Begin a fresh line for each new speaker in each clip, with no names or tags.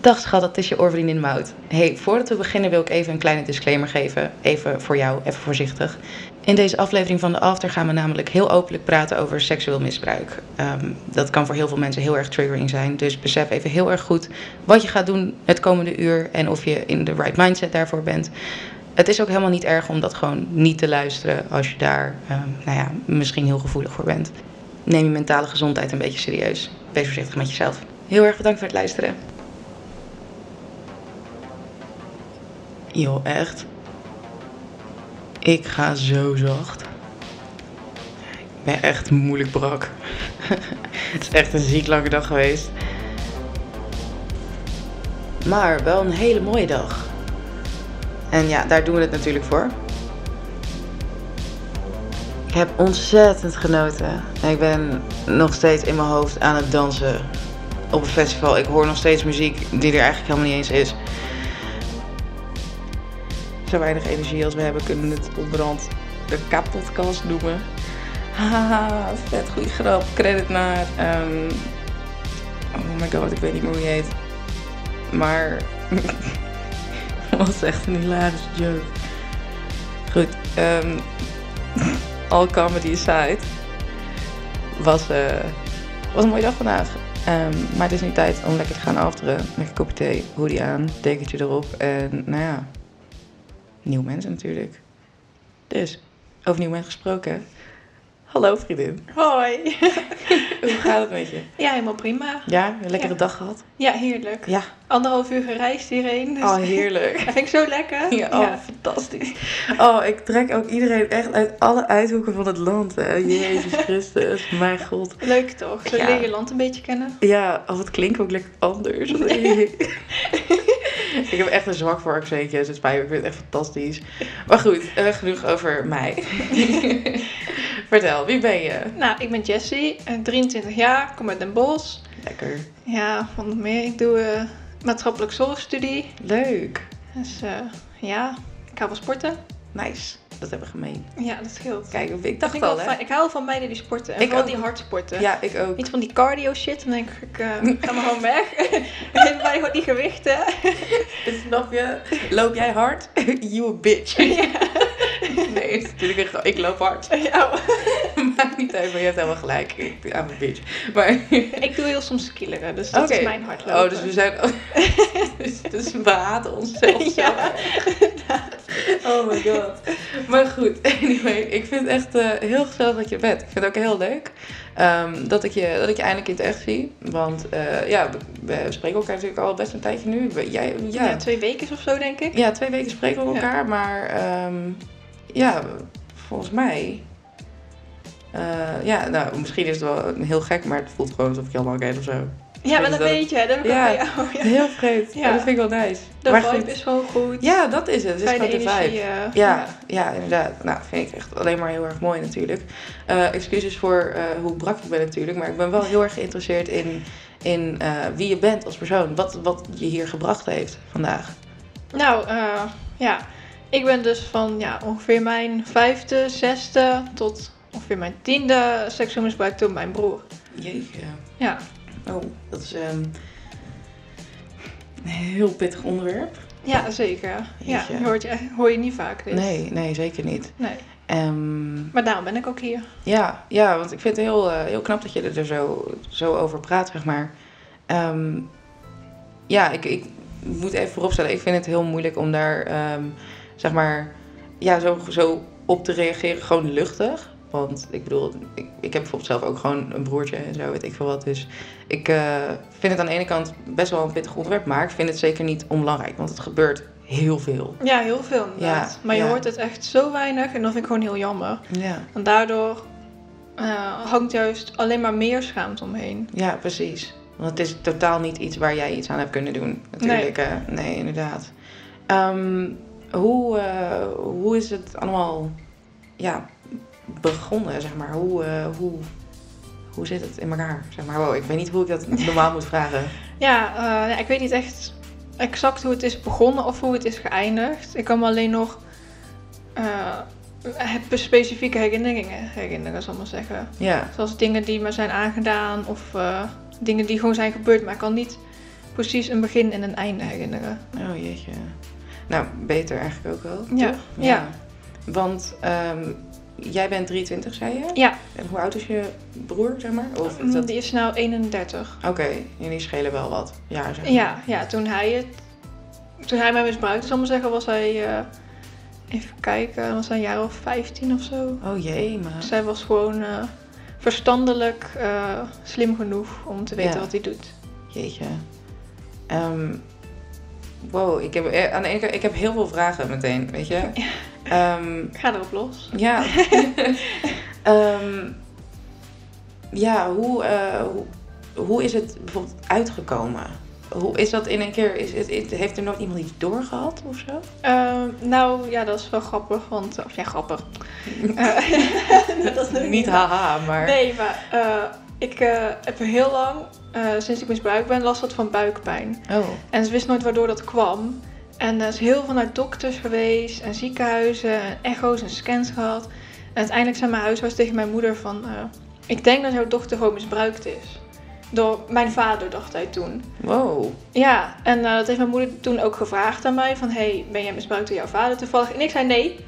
Dag schat, dat is je oorvriendin Mout. Hey, voordat we beginnen wil ik even een kleine disclaimer geven. Even voor jou, even voorzichtig. In deze aflevering van de After gaan we namelijk heel openlijk praten over seksueel misbruik. Ehm, dat kan voor heel veel mensen heel erg triggering zijn. Dus besef even heel erg goed wat je gaat doen het komende uur en of je in de right mindset daarvoor bent. Het is ook helemaal niet erg om dat gewoon niet te luisteren als je daar ehm, nou ja, misschien heel gevoelig voor bent. Neem je mentale gezondheid een beetje serieus. Wees voorzichtig met jezelf. Heel erg bedankt voor het luisteren. Joh, echt. Ik ga zo zacht. Ik ben echt moeilijk brak. Het is echt een ziek lange dag geweest. Maar wel een hele mooie dag. En ja, daar doen we het natuurlijk voor. Ik heb ontzettend genoten. Ik ben nog steeds in mijn hoofd aan het dansen op een festival. Ik hoor nog steeds muziek die er eigenlijk helemaal niet eens is. Zo weinig energie als we hebben, kunnen we het onderhand de kapotkast noemen. Haha, vet goede grap. Credit naar. ehm, oh my god, ik weet niet meer hoe je heet. Maar. Het was echt een hilarische joke. Goed, ehm all comedy aside. Was, eh, was een mooie dag vandaag. Ehm, maar het is nu tijd om lekker te gaan afteren. Lekker kopje thee, hoodie aan, dekentje erop. En nou ja, nieuw mensen natuurlijk. Dus, over nieuw mensen gesproken. Hallo vriendin,
Hoi.
hoe gaat het met je?
Ja, helemaal prima.
Ja, een lekkere
Ja.
dag gehad?
Ja, heerlijk.
Ja,
Anderhalf uur gereisd hierheen. Dus
oh heerlijk.
Dat vind ik zo lekker.
Ja, oh, fantastisch. Oh, ik trek ook iedereen echt uit alle uithoeken van het land. Hè. Jezus Christus, mijn god.
Leuk toch? Zo
Ja.
leer je land een beetje kennen.
Ja, oh, het klinkt ook lekker anders. ik heb echt een zwak voor accentjes. Het spijt me, ik vind het echt fantastisch. Maar goed, eh, genoeg over mij. Vertel, wie ben je?
Nou, ik ben Jessie, eh, 23 jaar, kom uit Den Bosch.
Lekker.
Ja, van nog meer. Ik doe eh, maatschappelijk zorgstudie.
Leuk.
Dus eh, ja, ik hou van sporten.
Nice. Dat hebben we gemeen.
Ja, dat scheelt.
Kijk, ik
Dat
dacht
vind ik, wel
al, hè?
fijn. ik hou van meiden die sporten. En
Ik
vooral
ook.
die hard sporten.
Ja, ik ook.
Niet van die cardio shit, dan denk ik, ik eh, ga maar gewoon weg. En bij gewoon die gewichten.
Snap je? Loop jij hard? You a bitch. Nee, het is natuurlijk een grap. Ik loop hard.
Ja.
Maakt niet uit, maar je hebt helemaal gelijk. Ik I'm a bitch. Maar...
Ik doe heel soms skileren, dus dat
Oké.
is mijn hardlopen.
Oh, dus we zijn... dus, dus we haten onszelf zo
Ja.
erg. Oh my god. Maar goed, anyway. Ik vind het echt eh, heel gezellig dat je er bent. Ik vind het ook heel leuk ehm, dat, ik je, dat ik je eindelijk in het echt zie. Want eh, ja, we, we spreken elkaar natuurlijk al best een tijdje nu. We- Jij,
ja.
ja,
twee weken of zo, denk ik.
Ja, twee weken spreken we
Ja.
elkaar, maar ehm, ja, volgens mij. eh, ja, nou, misschien is het wel heel gek, maar het voelt gewoon alsof ik je allemaal ken of zo.
Ja, wel
Dus
een
dat-
beetje. hè, Dat heb ik
Ja.
ook bij jou. Ja.
Heel vreemd.
Ja.
maar Dat vind ik wel nice.
De
maar
vibe
goed.
is gewoon goed.
Ja, dat is het. Het is
Fijne
gewoon de vibe.
energie. eh,
Ja, ja, inderdaad. Nou, vind ik echt alleen maar heel erg mooi natuurlijk. Eh, excuses voor eh, hoe brak ik ben natuurlijk, maar ik ben wel heel erg geïnteresseerd in, in eh, wie je bent als persoon. Wat, wat je hier gebracht heeft vandaag.
Nou, eh, ja. Ik ben dus van ja, ongeveer mijn vijfde, zesde tot ongeveer mijn tiende seksueel misbruikt door mijn broer.
Jeetje.
Ja.
Oh, dat is ehm, een heel pittig onderwerp.
Ja, zeker. Ja,
Jeetje.
hoor je, hoor je niet vaak. Dus.
Nee, nee, zeker niet.
nee.
Ehm,
Maar daarom ben ik ook hier.
ja, ja, want ik vind het heel, eh, heel knap dat je er zo, zo over praat, zeg maar. Ehm, ja, ik, ik moet even vooropstellen, ik vind het heel moeilijk om daar, ehm, zeg maar, ja, zo, zo op te reageren, gewoon luchtig. Want ik bedoel, ik, ik heb bijvoorbeeld zelf ook gewoon een broertje en zo, weet ik veel wat. Dus ik eh, vind het aan de ene kant best wel een pittig onderwerp, maar ik vind het zeker niet onbelangrijk, want het gebeurt heel veel.
Ja, heel veel inderdaad.
Ja,
maar je
ja.
hoort het echt zo weinig en dat vind ik gewoon heel jammer.
Ja.
En daardoor eh, hangt juist alleen maar meer schaamte omheen.
Ja, precies. Want het is totaal niet iets waar jij iets aan hebt kunnen doen. Natuurlijk, hè. nee inderdaad. Ehm, hoe, eh, hoe is het allemaal ja, begonnen, zeg maar? Hoe, eh, hoe, hoe zit het in elkaar? Zeg maar, wow, ik weet niet hoe ik dat normaal moet vragen.
Ja, eh, ja, ik weet niet echt exact hoe het is begonnen of hoe het is geëindigd. Ik kan me alleen nog eh, heb specifieke herinneringen herinneren, zal ik maar zeggen.
Ja,
Zoals dingen die me zijn aangedaan of eh, dingen die gewoon zijn gebeurd. Maar ik kan niet precies een begin en een einde herinneren.
Oh jeetje. Nou, beter eigenlijk ook wel.
Ja.
toch?
Ja.
Want ehm, jij bent 23, zei je?
Ja,
En hoe oud is je broer, zeg maar? Of is
mm,
dat...
die is nou 31.
Oké, jullie schelen wel wat. Ja, zeg maar.
Ja, ja toen, hij het, toen hij mij misbruikte, zal ik maar zeggen, was hij... eh, even kijken, was hij een jaar of 15 of zo.
Oh jee, maar...
Zij was gewoon eh, verstandelijk eh, slim genoeg om te weten
Ja.
wat hij doet.
Jeetje. Ehm, wow, ik heb, eh, aan de ene kant, ik heb heel veel vragen meteen, weet je? Ehm,
Ik ga erop los.
ja. Ehm, ja, hoe, eh, hoe, hoe is het bijvoorbeeld uitgekomen? Hoe is dat in een keer? Is, het- het- heeft er nooit iemand iets doorgehad of zo?
Ehm, nou ja, dat is wel grappig, want... Of ja, grappig. Eh, dat is
Niet haha, maar.
Nee, maar eh, ik eh, heb heel lang, eh, sinds ik misbruikt ben, last gehad van buikpijn.
Oh,
En ze wist nooit waardoor dat kwam. En er is heel veel naar dokters geweest en ziekenhuizen en echo's en scans gehad. En uiteindelijk zei mijn huisarts tegen mijn moeder van... eh, ik denk dat jouw dochter gewoon misbruikt is. Door mijn vader, dacht hij toen.
wow.
Ja, en eh, dat heeft mijn moeder toen ook gevraagd aan mij. Van, hey, ben jij misbruikt door jouw vader toevallig? En ik zei nee.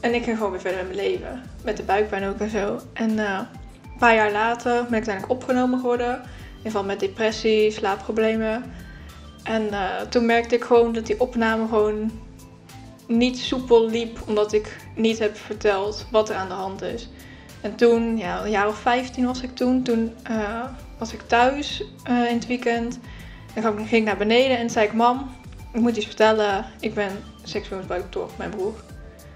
En ik ging gewoon weer verder met mijn leven. Met de buikpijn ook en zo. En eh, een paar jaar later ben ik uiteindelijk opgenomen geworden. In ieder geval met depressie, slaapproblemen. En eh, toen merkte ik gewoon dat die opname gewoon niet soepel liep. Omdat ik niet heb verteld wat er aan de hand is. En toen, ja, een jaar of 15 was ik toen. Toen eh, was ik thuis eh, in het weekend. En dan ging ik naar beneden en zei ik, mam, ik moet iets vertellen. Ik ben seksueel misbruikt door mijn broer.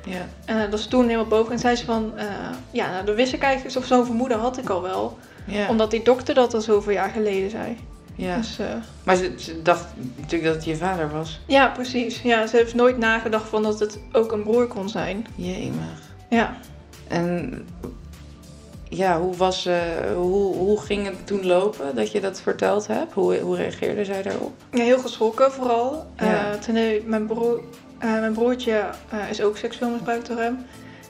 Ja.
En eh, dat was toen helemaal boven. En zei ze van, eh, ja, nou, dat wist ik eigenlijk, of zo'n vermoeden had ik al wel.
Ja.
Omdat die dokter dat al zoveel jaar geleden zei.
ja.
Dus, eh,
Maar ze, ze dacht natuurlijk dat het je vader was.
ja, precies. Ja, ze heeft nooit nagedacht van dat het ook een broer kon zijn.
Jemig.
Ja.
En ja, hoe, was, eh, hoe, hoe ging het toen lopen dat je dat verteld hebt? Hoe, hoe reageerde zij daarop?
Ja, heel geschrokken vooral.
Ja.
Eh, toen heeft mijn, broer, eh, mijn broertje eh, is ook seksueel misbruikt door hem.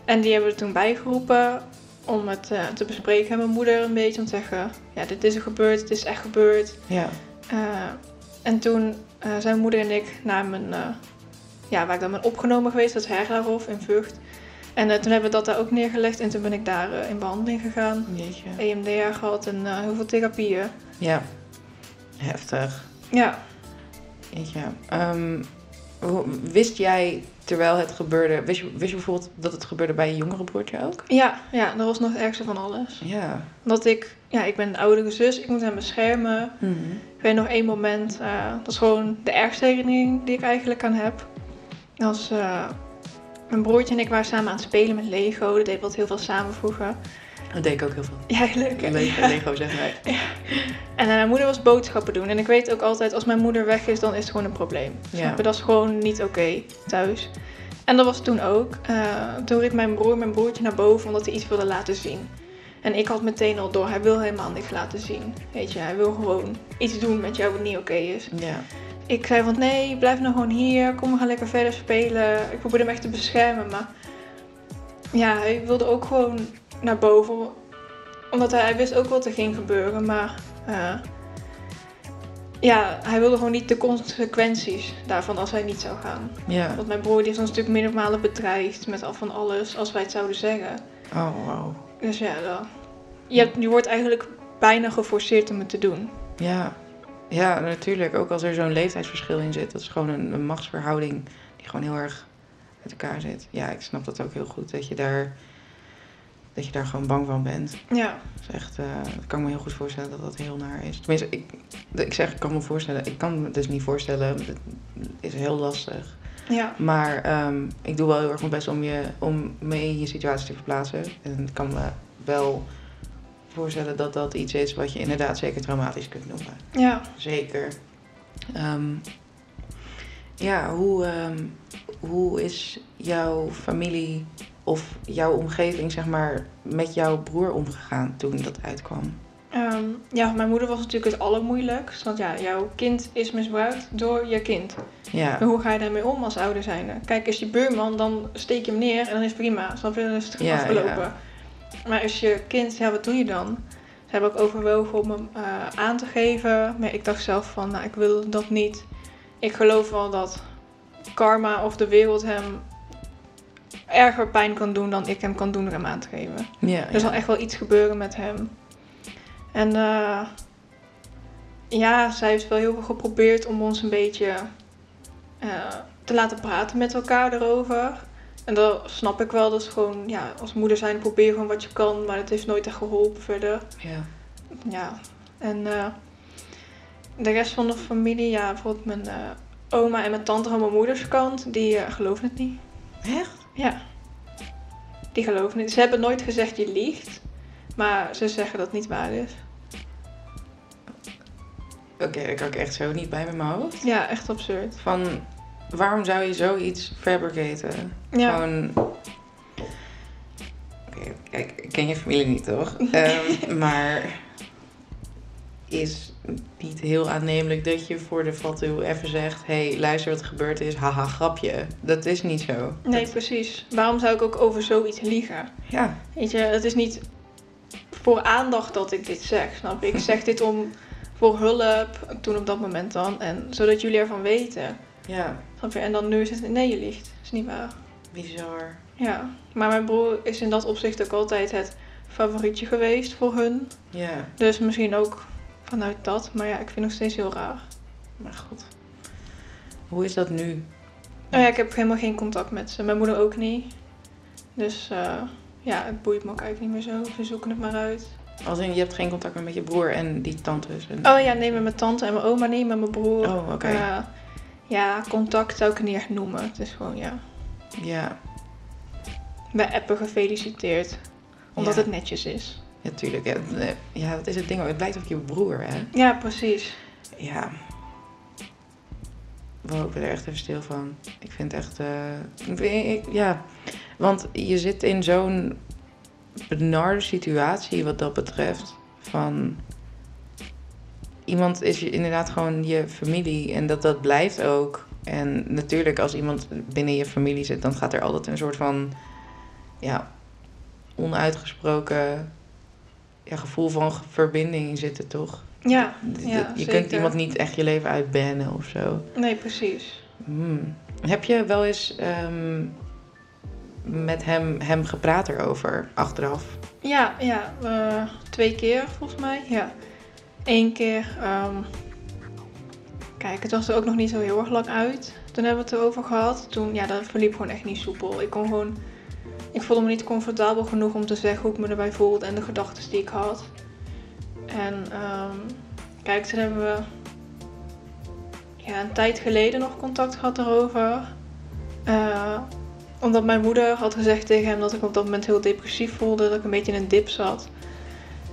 En die hebben we toen bijgeroepen om het eh, te bespreken met mijn moeder een beetje. Om te zeggen, ja, dit is er gebeurd, dit is echt gebeurd.
Ja.
Eh, en toen eh, zijn mijn moeder en ik naar mijn, eh, ja, waar ik dan ben opgenomen geweest, dat is Herlaarhof in Vught. En eh, toen hebben we dat daar ook neergelegd en toen ben ik daar eh, in behandeling gegaan. E
Jeetje.
EMDR gehad en eh, heel veel therapieën.
Ja. Heftig.
Ja,
Jeetje. Ehm, hoe- wist jij terwijl het gebeurde, wist je, wist je bijvoorbeeld dat het gebeurde bij je jongere broertje ook?
ja, ja, dat was nog het ergste van alles.
Ja.
Omdat ik, ja, ik ben een oudere zus, ik moet hem beschermen.
Mhm.
Ik weet nog één moment, eh, dat is gewoon de ergste herinnering die ik eigenlijk aan heb. Dat was, eh, mijn broertje en ik waren samen aan het spelen met Lego, dat deed wat heel veel samen vroeger.
Dat deed ik ook heel veel.
Ja, leuk hè?
Lego,
Ja.
Lego zeg maar.
En eh, mijn moeder was boodschappen doen en ik weet ook altijd, als mijn moeder weg is, dan is het gewoon een probleem.
Ja.
Snap je? Dat is gewoon niet oké thuis. En dat was toen ook. Eh, toen riep mijn broer mijn broertje naar boven omdat hij iets wilde laten zien. En ik had meteen al door, hij wil helemaal niks laten zien. Weet je, hij wil gewoon iets doen met jou wat niet oké is.
Ja.
Ik zei van nee, blijf nou gewoon hier, kom we gaan lekker verder spelen. Ik probeer hem echt te beschermen, maar ja, hij wilde ook gewoon naar boven. Omdat hij, hij wist ook wat er ging gebeuren, maar eh, ja, hij wilde gewoon niet de consequenties daarvan als hij niet zou gaan.
Ja.
Want mijn broer die is ons natuurlijk meerdere malen bedreigd met al van alles als wij het zouden zeggen.
Oh, wow.
Dus ja, dan, je, hebt, je wordt eigenlijk bijna geforceerd om het te doen.
Ja. ja, natuurlijk. Ook als er zo'n leeftijdsverschil in zit. Dat is gewoon een, een machtsverhouding die gewoon heel erg uit elkaar zit. Ja, ik snap dat ook heel goed. Dat je daar, dat je daar gewoon bang van bent.
Ja,
Dat, is echt, eh, dat kan ik me heel goed voorstellen dat dat heel naar is. Tenminste, ik, ik zeg ik kan me voorstellen. Ik kan me het dus niet voorstellen. Het is heel lastig.
ja,
Maar ehm, ik doe wel heel erg mijn best om, je, om me in je situatie te verplaatsen. En ik kan me wel voorstellen dat dat iets is wat je inderdaad zeker traumatisch kunt noemen.
ja.
Zeker. Ehm, ja, hoe, ehm, hoe is jouw familie of jouw omgeving, zeg maar, met jouw broer omgegaan toen dat uitkwam?
Ehm, ja, voor mijn moeder was natuurlijk het allermoeilijkst. Want ja, jouw kind is misbruikt door je kind. Maar
Ja,
hoe ga je daarmee om als ouder zijnde? Kijk, is je buurman, dan steek je hem neer en dan is het prima. Snap je? Dan is het
Ja,
afgelopen. Maar als je kind, ja, wat doe je dan? hebben ook overwogen om hem eh, aan te geven. Maar ik dacht zelf van, nou, ik wil dat niet. Ik geloof wel dat karma of de wereld hem erger pijn kan doen dan ik hem kan doen door hem aan te geven.
Ja,
Er
ja.
zal echt wel iets gebeuren met hem. En eh, ja, zij heeft wel heel veel geprobeerd om ons een beetje eh, te laten praten met elkaar erover. En dat snap ik wel. Dat is gewoon, ja, als moeder zijn probeer gewoon wat je kan. Maar dat heeft nooit echt geholpen verder.
ja.
Ja, en eh, de rest van de familie, ja, bijvoorbeeld mijn eh, oma en mijn tante van mijn moeders kant, die eh, geloven het niet.
Echt?
Ja. Die geloven niet. Ze hebben nooit gezegd je liegt. Maar ze zeggen dat het niet waar is.
Oké, ik had echt zo niet bij met mijn hoofd.
Ja, echt absurd.
Van, waarom zou je zoiets fabricaten?
Ja.
Gewoon... Oké, kijk, ik ken je familie niet, toch? Ehm, maar is niet heel aannemelijk dat je voor de fatu even zegt... hé, hey, luister wat er gebeurd is, haha, grapje. Dat is niet zo.
Nee,
Dat-
precies. Waarom zou ik ook over zoiets liegen?
ja,
Weet je, het is niet voor aandacht dat ik dit zeg, snap je? Ik zeg dit om voor hulp, toen op dat moment dan. En zodat jullie ervan weten.
ja,
Snap je? En dan nu is het, nee, je liegt. Dat is niet waar.
bizar.
Ja. Maar mijn broer is in dat opzicht ook altijd het favorietje geweest voor hun.
Ja,
Dus misschien ook vanuit dat. Maar ja, ik vind het nog steeds heel raar.
maar goed. Hoe is dat nu?
Nou ja, ik heb helemaal geen contact met ze. Mijn moeder ook niet. Dus eh, ja, het boeit me ook eigenlijk niet meer zo. Ze zoeken het maar uit.
Als in, je hebt geen contact meer met je broer en die tantes. En...
Oh ja, nee, met mijn tante en mijn oma niet, met mijn broer.
Oh, oké.
Eh, ja, contact zou ik het niet echt noemen. Het is gewoon, ja,
Ja,
bij appen gefeliciteerd. Omdat
Ja.
het netjes is.
natuurlijk. Ja, eh, ja, dat is het ding. ook. Het lijkt op je broer, hè?
Ja, precies.
Ja. Wow, ik ben er echt even stil van. Ik vind echt... eh, ik weet- ik- ja, want je zit in zo'n benarde situatie wat dat betreft. Van... Iemand is je, inderdaad gewoon je familie en dat, dat blijft ook. En natuurlijk, als iemand binnen je familie zit, dan gaat er altijd een soort van... Ja, onuitgesproken ja, gevoel van verbinding in zitten, toch?
Ja,
D- d-
ja
je kunt
zeker.
iemand niet echt je leven uitbannen of zo.
Nee, precies.
Hmm. Heb je wel eens ehm, met hem, hem gepraat erover achteraf?
Ja, ja, eh, twee keer volgens mij. Ja. Eén keer. ehm, kijk, het was er ook nog niet zo heel erg lang uit. Toen hebben we het erover gehad. Toen, ja, dat verliep gewoon echt niet soepel. Ik kon gewoon. Ik voelde me niet comfortabel genoeg om te zeggen hoe ik me erbij voelde en de gedachten die ik had. En ehm, kijk, toen hebben we ja, een tijd geleden nog contact gehad erover. Eh, omdat mijn moeder had gezegd tegen hem dat ik me op dat moment heel depressief voelde, dat ik een beetje in een dip zat.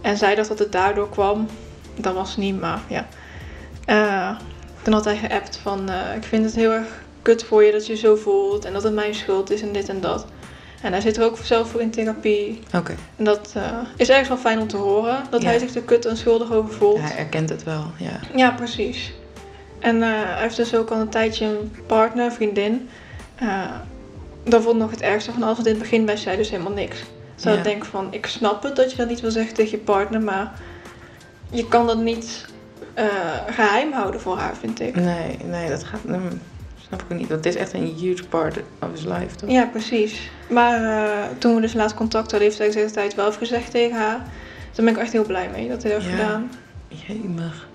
En zij dacht dat het daardoor kwam. Dat was het niet, maar ja. Eh, toen had hij geappt van, eh, ik vind het heel erg kut voor je dat je zo voelt en dat het mijn schuld is en dit en dat. En hij zit er ook zelf voor in therapie.
Oké.
En dat eh, is ergens wel fijn om te horen, dat
Ja.
hij zich er kut en schuldig over voelt.
Hij erkent het wel, ja.
Ja, precies. En eh, hij heeft dus ook al een tijdje een partner, een vriendin. Eh, dat vond ik nog het ergste van alles, want in het begin wist zij dus helemaal niks. Zou
Ja.
ik denken van, ik snap het dat je dat niet wil zeggen tegen je partner, maar je kan dat niet eh, geheim houden voor haar, vind ik.
Nee, nee, dat gaat... mm, snap ik ook niet. Dat is echt een huge part of his life, toch?
Ja, precies. Maar eh, toen we dus laatst contact hadden, heeft hij de hele tijd wel even gezegd tegen haar. Dus Daar ben ik echt heel blij mee dat hij dat heeft
Ja.
gedaan.
Jemig.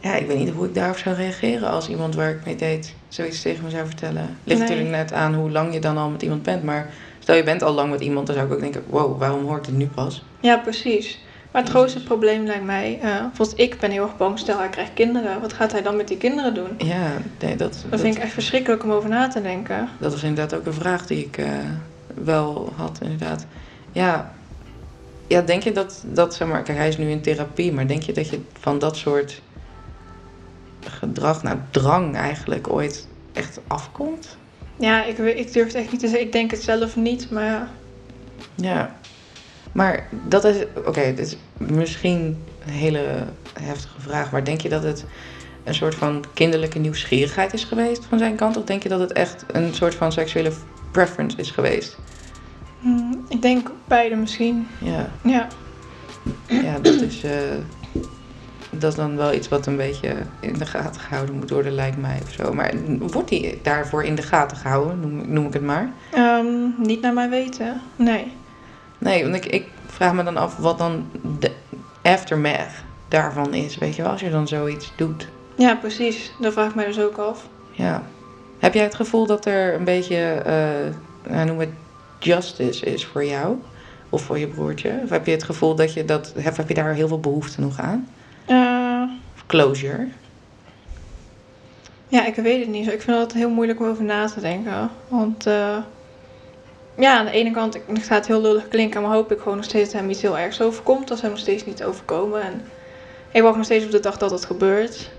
Ja, ik weet niet hoe ik daarop zou reageren als iemand waar ik mee deed zoiets tegen me zou vertellen. Ligt
Nee.
natuurlijk net aan hoe lang je dan al met iemand bent, maar stel je bent al lang met iemand, dan zou ik ook denken, wow, waarom hoort het nu pas?
Ja, precies. Maar het grootste probleem lijkt mij, eh volgens ik ben heel erg bang, stel hij krijgt kinderen, wat gaat hij dan met die kinderen doen?
Ja, nee, dat,
Dat vind ik echt verschrikkelijk om over na te denken.
dat was inderdaad ook een vraag die ik eh, wel had, inderdaad. Ja, ja denk je dat, dat, zeg maar, kijk, hij is nu in therapie, maar denk je dat je van dat soort gedrag, nou, drang eigenlijk, ooit echt afkomt?
Ja, ik, we- ik durf het echt niet te zeggen. Ik denk het zelf niet, maar ja.
Ja. Maar dat is, oké, dit is misschien een hele heftige vraag, maar denk je dat het een soort van kinderlijke nieuwsgierigheid is geweest van zijn kant? Of denk je dat het echt een soort van seksuele preference is geweest?
Hm, ik denk beide misschien.
Ja.
Ja.
ja, dat is, eh, dat is dan wel iets wat een beetje in de gaten gehouden moet worden, lijkt mij of zo. Maar wordt die daarvoor in de gaten gehouden, noem, noem ik het maar?
Ehm, niet naar mijn weten. Nee.
Nee, want ik, ik vraag me dan af wat dan de aftermath daarvan is, weet je wel, als je dan zoiets doet.
Ja, precies. Dat vraag ik mij dus ook af.
Ja. Heb jij het gevoel dat er een beetje, eh nou, noem het justice is voor jou? Of voor je broertje? Of heb je het gevoel dat je dat, heb, heb je daar heel veel behoefte nog aan?
Eh,
Of closure?
ja, ik weet het niet. zo. Ik vind het heel moeilijk om over na te denken. Want eh, ja, aan de ene kant ik, het gaat heel lullig klinken, maar hoop ik gewoon nog steeds dat hem iets heel ergs overkomt. Dat ze hem nog steeds niet overkomen. En ik wacht nog steeds op de dag dat dat gebeurt.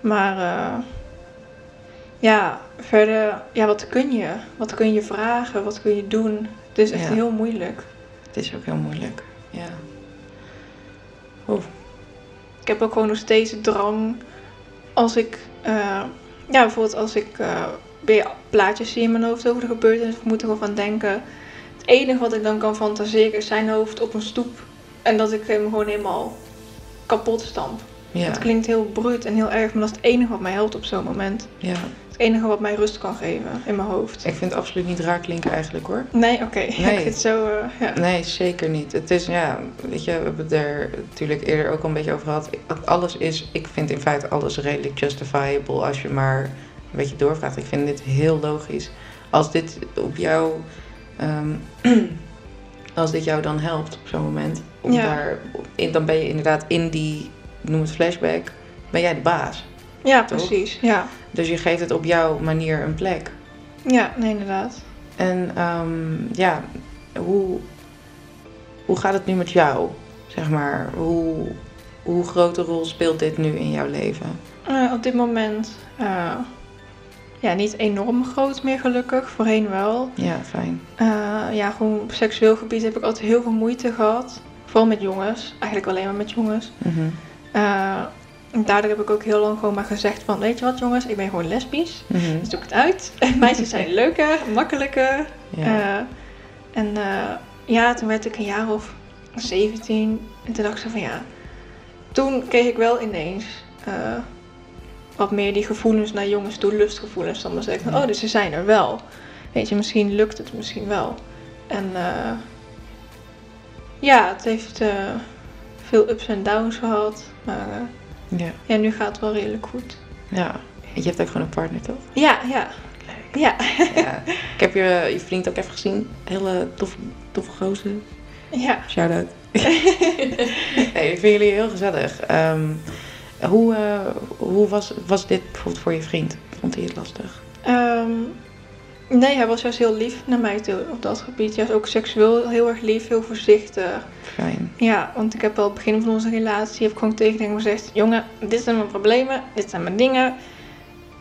Maar eh, ja, verder, ja, wat kun je? Wat kun je vragen? Wat kun je doen? Het is echt
Ja.
heel moeilijk.
Het is ook heel moeilijk. Ja. Oh,
Ik heb ook gewoon nog steeds de drang als ik, eh, ja, bijvoorbeeld als ik eh, weer plaatjes zie in mijn hoofd over de gebeurtenis, moet ik gewoon van denken. Het enige wat ik dan kan fantaseren is zijn hoofd op een stoep en dat ik hem gewoon helemaal kapot stamp.
ja.
Het klinkt heel bruut en heel erg, maar dat is het enige wat mij helpt op zo'n moment.
ja.
Het enige wat mij rust kan geven in mijn hoofd.
Ik vind het absoluut niet raar klinken eigenlijk hoor.
Nee, oké.
Nee.
Ik vind het zo, eh, ja.
Nee, zeker niet. Het is, ja, weet je, we hebben het er natuurlijk eerder ook al een beetje over gehad. Alles is, ik vind in feite alles redelijk justifiable als je maar een beetje doorvraagt. Ik vind dit heel logisch. Als dit op jou, ehm, als dit jou dan helpt op zo'n moment, om
Ja.
daar, in- dan ben je inderdaad in die, noem het flashback, ben jij de baas.
Ja,
Toch?
precies. Ja.
Dus je geeft het op jouw manier een plek.
ja, nee, inderdaad.
En ehm, ja, hoe, hoe gaat het nu met jou? Zeg maar, hoe, hoe grote rol speelt dit nu in jouw leven?
Eh, op dit moment eh, ja, niet enorm groot meer gelukkig, voorheen wel.
Ja, fijn.
Eh, ja, gewoon op seksueel gebied heb ik altijd heel veel moeite gehad. Vooral met jongens, eigenlijk alleen maar met jongens.
Mhm,
Eh, en daardoor heb ik ook heel lang gewoon maar gezegd van, weet je wat jongens, ik ben gewoon lesbisch.
mhm,
Dus doe ik het uit. Meisjes zijn leuker, makkelijker.
Ja.
Eh, en eh, ja, toen werd ik een jaar of 17. En toen dacht ik zo van ja. Toen kreeg ik wel ineens eh, wat meer die gevoelens naar jongens toe, lustgevoelens. Dan maar zeggen,
Ja.
oh, dus ze zijn er wel. Weet je, misschien lukt het misschien wel. En eh, ja, het heeft eh, veel ups en downs gehad. Maar eh,
ja.
ja, nu gaat het wel redelijk goed.
ja. Je hebt ook gewoon een partner, toch?
Ja, ja,
Leuk.
ja.
Ja. Ik heb je, je vriend ook even gezien. Hele toffe, toffe gozer.
ja.
Shout-out. nee, ik vind jullie heel gezellig. Ehm, hoe eh, hoe was, was dit bijvoorbeeld voor je vriend? Vond hij het lastig?
Ehm, nee, hij was juist heel lief naar mij toe op dat gebied. Juist ook seksueel heel erg lief, heel voorzichtig.
Fijn.
Ja, want ik heb wel het begin van onze relatie, heb ik gewoon tegen hem gezegd... Jongen, dit zijn mijn problemen, dit zijn mijn dingen.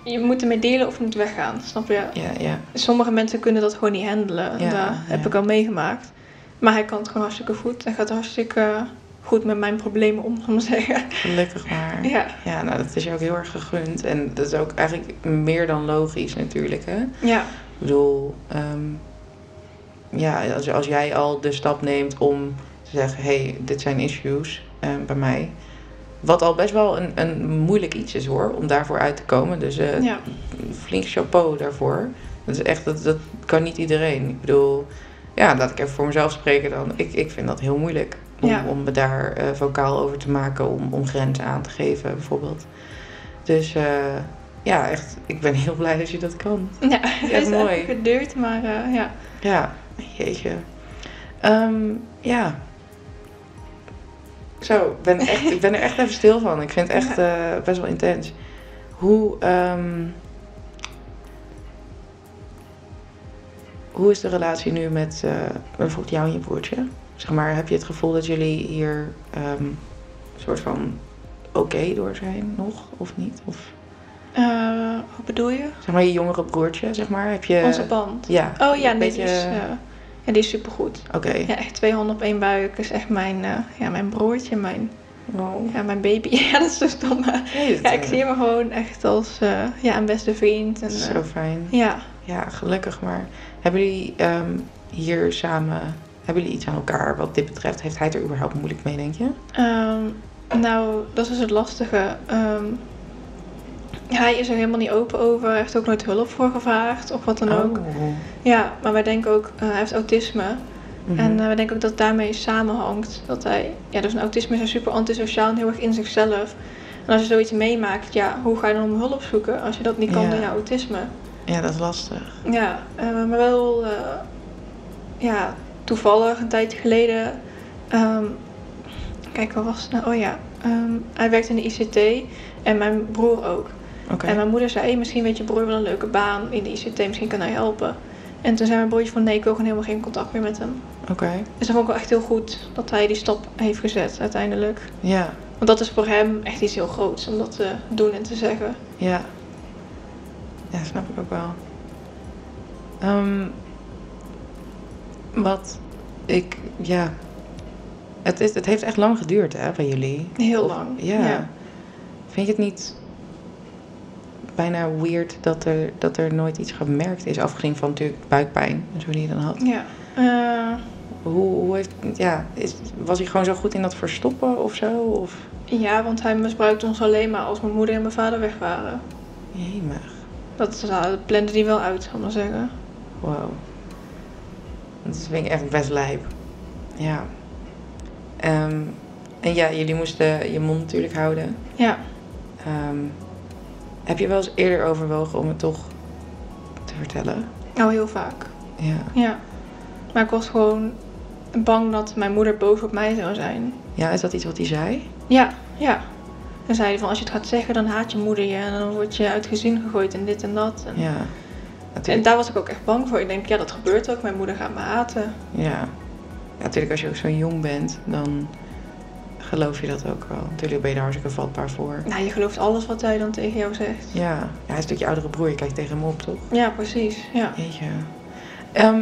Je moet ermee delen of je moet weggaan, snap je?
Ja, ja.
Sommige mensen kunnen dat gewoon niet handelen. en
Ja,
dat heb
ja.
ik al meegemaakt. Maar hij kan het gewoon hartstikke goed. Hij gaat hartstikke goed met mijn problemen om, zal ik maar zeggen.
Gelukkig maar.
Ja,
Ja, nou dat is je ook heel erg gegund. En dat is ook eigenlijk meer dan logisch natuurlijk. Hè?
ja,
Ik bedoel, ehm, ja, als, als jij al de stap neemt om te zeggen, hé, hey, dit zijn issues eh, bij mij. Wat al best wel een, een moeilijk iets is hoor, om daarvoor uit te komen. Dus eh,
ja.
flink chapeau daarvoor. Dat is echt, dat, dat kan niet iedereen. Ik bedoel, ja, laat ik even voor mezelf spreken dan. Ik, ik vind dat heel moeilijk om,
Ja.
om me daar eh, vocaal over te maken, om, om grenzen aan te geven bijvoorbeeld. Dus eh, ja, echt, ik ben heel blij dat je dat kan.
Ja, het heeft
Eh, mooi.
even geduurd, maar eh, ja.
Ja, jeetje. Ehm, ja. Zo, ik ben, echt, ik ben er echt even stil van. Ik vind het echt eh, best wel intens. Hoe, ehm, hoe is de relatie nu met eh, bijvoorbeeld jou en je broertje? Zeg maar, heb je het gevoel dat jullie hier ehm soort van oké door zijn nog of niet? Of
Eh, hoe bedoel je?
zeg maar je jongere broertje, zeg maar, heb je...
Onze band.
Ja.
Oh ja,
Eh, een
nee, die, is,
beetje-
eh, ja, die is supergoed.
Oké.
Ja, echt twee handen op één buik is echt mijn, eh, ja, mijn broertje, mijn,
Wow.
ja, mijn baby. Ja, dat is zo stom. maar
Nee,
Ja,
dat,
ik
eh,
zie hem gewoon echt als eh, ja, een beste vriend. En,
dat is
eh,
Zo fijn.
ja,
Ja, gelukkig maar. Hebben jullie ehm, hier samen Hebben jullie iets aan elkaar wat dit betreft? Heeft hij het er überhaupt moeilijk mee, denk je?
Ehm, nou, dat is het lastige. Ehm, hij is er helemaal niet open over. Hij heeft ook nooit hulp voor gevraagd of wat dan ook.
Oh.
Ja, maar wij denken ook, eh, hij heeft autisme.
Mhm.
En eh, we denken ook dat het daarmee samenhangt. Dat hij, ja, dus een autisme is hij super antisociaal en heel erg in zichzelf. En als je zoiets meemaakt, ja, hoe ga je dan om hulp zoeken als je dat niet kan
Ja.
door je autisme?
Ja, dat is lastig.
Ja, eh, maar wel, eh, ja, toevallig een tijdje geleden. ehm, kijk, wat was het nou? Oh ja, ehm, hij werkt in de ICT en mijn broer ook.
Oké.
En mijn moeder zei, hey, misschien weet je broer wel een leuke baan in de ICT, misschien kan hij helpen. En toen zei mijn broertje van, nee, ik wil gewoon helemaal geen contact meer met hem.
Oké.
Dus dat vond ik wel echt heel goed dat hij die stap heeft gezet uiteindelijk.
Ja.
Want dat is voor hem echt iets heel groots om dat te doen en te zeggen.
Ja. Ja, snap ik ook wel. Ehm, wat ik, ja. Het, is, het heeft echt lang geduurd, hè, bij jullie?
Heel
Of-
lang,
Ja.
ja.
Vind je het niet bijna weird dat er, dat er nooit iets gemerkt is? Afgezien van natuurlijk buikpijn en zo die je dan had.
Ja. Eh,
Hoe, hoe heeft, ja, is, was hij gewoon zo goed in dat verstoppen of zo? Of,
ja, want hij misbruikte ons alleen maar als mijn moeder en mijn vader weg waren.
jemig.
Dat, is- nou, dat blende die wel uit, zal ik maar zeggen.
Wow. Dat vind ik echt best lijp. Ja. Ehm, en ja, jullie moesten je mond natuurlijk houden.
Ja.
Ehm, heb je wel eens eerder overwogen om het toch te vertellen?
Nou, heel vaak.
Ja.
Ja. Maar ik was gewoon bang dat mijn moeder boos op mij zou zijn.
Ja, is dat iets wat hij zei?
Ja, ja. En zei hij van, als je het gaat zeggen, dan haat je moeder je. En dan word je uit gezin gegooid en dit en dat. En
Ja.
En
Natuurlijk.
daar was ik ook echt bang voor. Ik denk, ja, dat gebeurt ook. Mijn moeder gaat me haten.
Ja. Ja, natuurlijk als je ook zo jong bent, dan geloof je dat ook wel. Natuurlijk ben je daar hartstikke vatbaar voor.
Nou, je gelooft alles wat hij dan tegen jou zegt.
Ja. ja. Hij is natuurlijk je oudere broer, je kijkt tegen hem op, toch?
Ja, precies. Ja.
Jeetje. Ehm,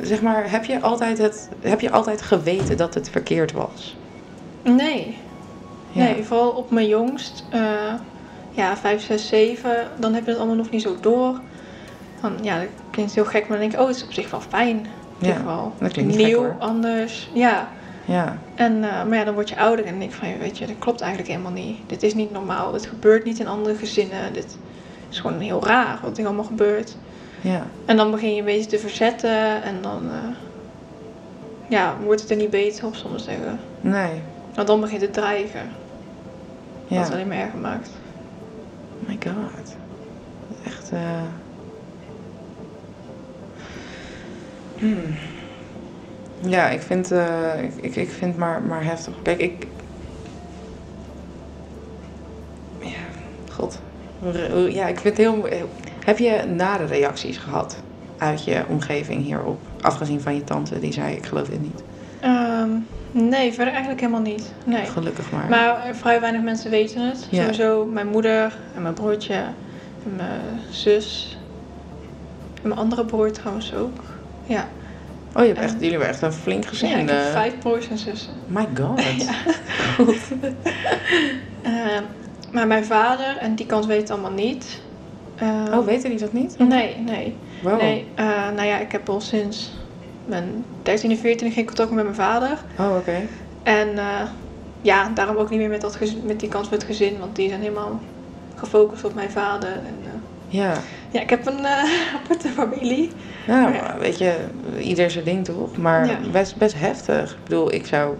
zeg maar, heb je, altijd het, heb je altijd geweten dat het verkeerd was?
Nee.
Ja.
Nee, vooral op mijn jongst. eh, ja, 5, 6, 7. Dan heb je het allemaal nog niet zo door. Dan, ja, dat klinkt heel gek, maar dan denk ik, oh, het is op zich wel fijn. Op
Ja,
zich wel
dat klinkt niet gek,
nieuw,
hoor.
anders. Ja.
Ja,
En, eh, maar ja, dan word je ouder en denk ik van, ja, weet je, dat klopt eigenlijk helemaal niet. Dit is niet normaal. Dit gebeurt niet in andere gezinnen. Dit is gewoon heel raar wat hier allemaal gebeurt.
ja,
En dan begin je een beetje te verzetten en dan eh, ja, wordt het er niet beter op, soms zeggen.
nee.
Want dan begint het dreigen. Dat
Ja.
is alleen maar erger maakt.
Oh my god. Dat is echt. eh, hmm. Ja, ik vind, eh, ik, ik, ik vind maar, maar heftig. Kijk, ik. Ja, god. Ja, ik vind het heel. heel- Heb je nare reacties gehad uit je omgeving hierop? Afgezien van je tante die zei: Ik geloof dit niet.
Ehm, nee, verder eigenlijk helemaal niet. Nee.
Gelukkig maar.
Maar eh, vrij weinig mensen weten het.
Ja.
Sowieso mijn moeder en mijn broertje en mijn zus. En mijn andere broer trouwens ook. Ja,
oh, je hebt echt, jullie hebben echt een flink gezin.
Eh. ja ik heb
eh.
vijf broers en zussen.
My god.
Ja. Ehm, maar mijn vader en die kant weet het allemaal niet. Ehm,
Oh, weten die dat niet?
Nee, nee.
Wow.
Nee, eh, nou ja, ik heb al sinds mijn 13 en 14 geen contact meer met mijn vader.
Oh, oké.
En eh, ja, daarom ook niet meer met, dat gez- met die kans met het gezin, want die zijn helemaal gefocust op mijn vader. En, eh,
Ja.
ja, ik heb een eh, aparte familie.
Nou,
Ja.
weet je, ieder zijn ding toch? Maar
Ja.
best, best heftig. Ik bedoel, ik zou.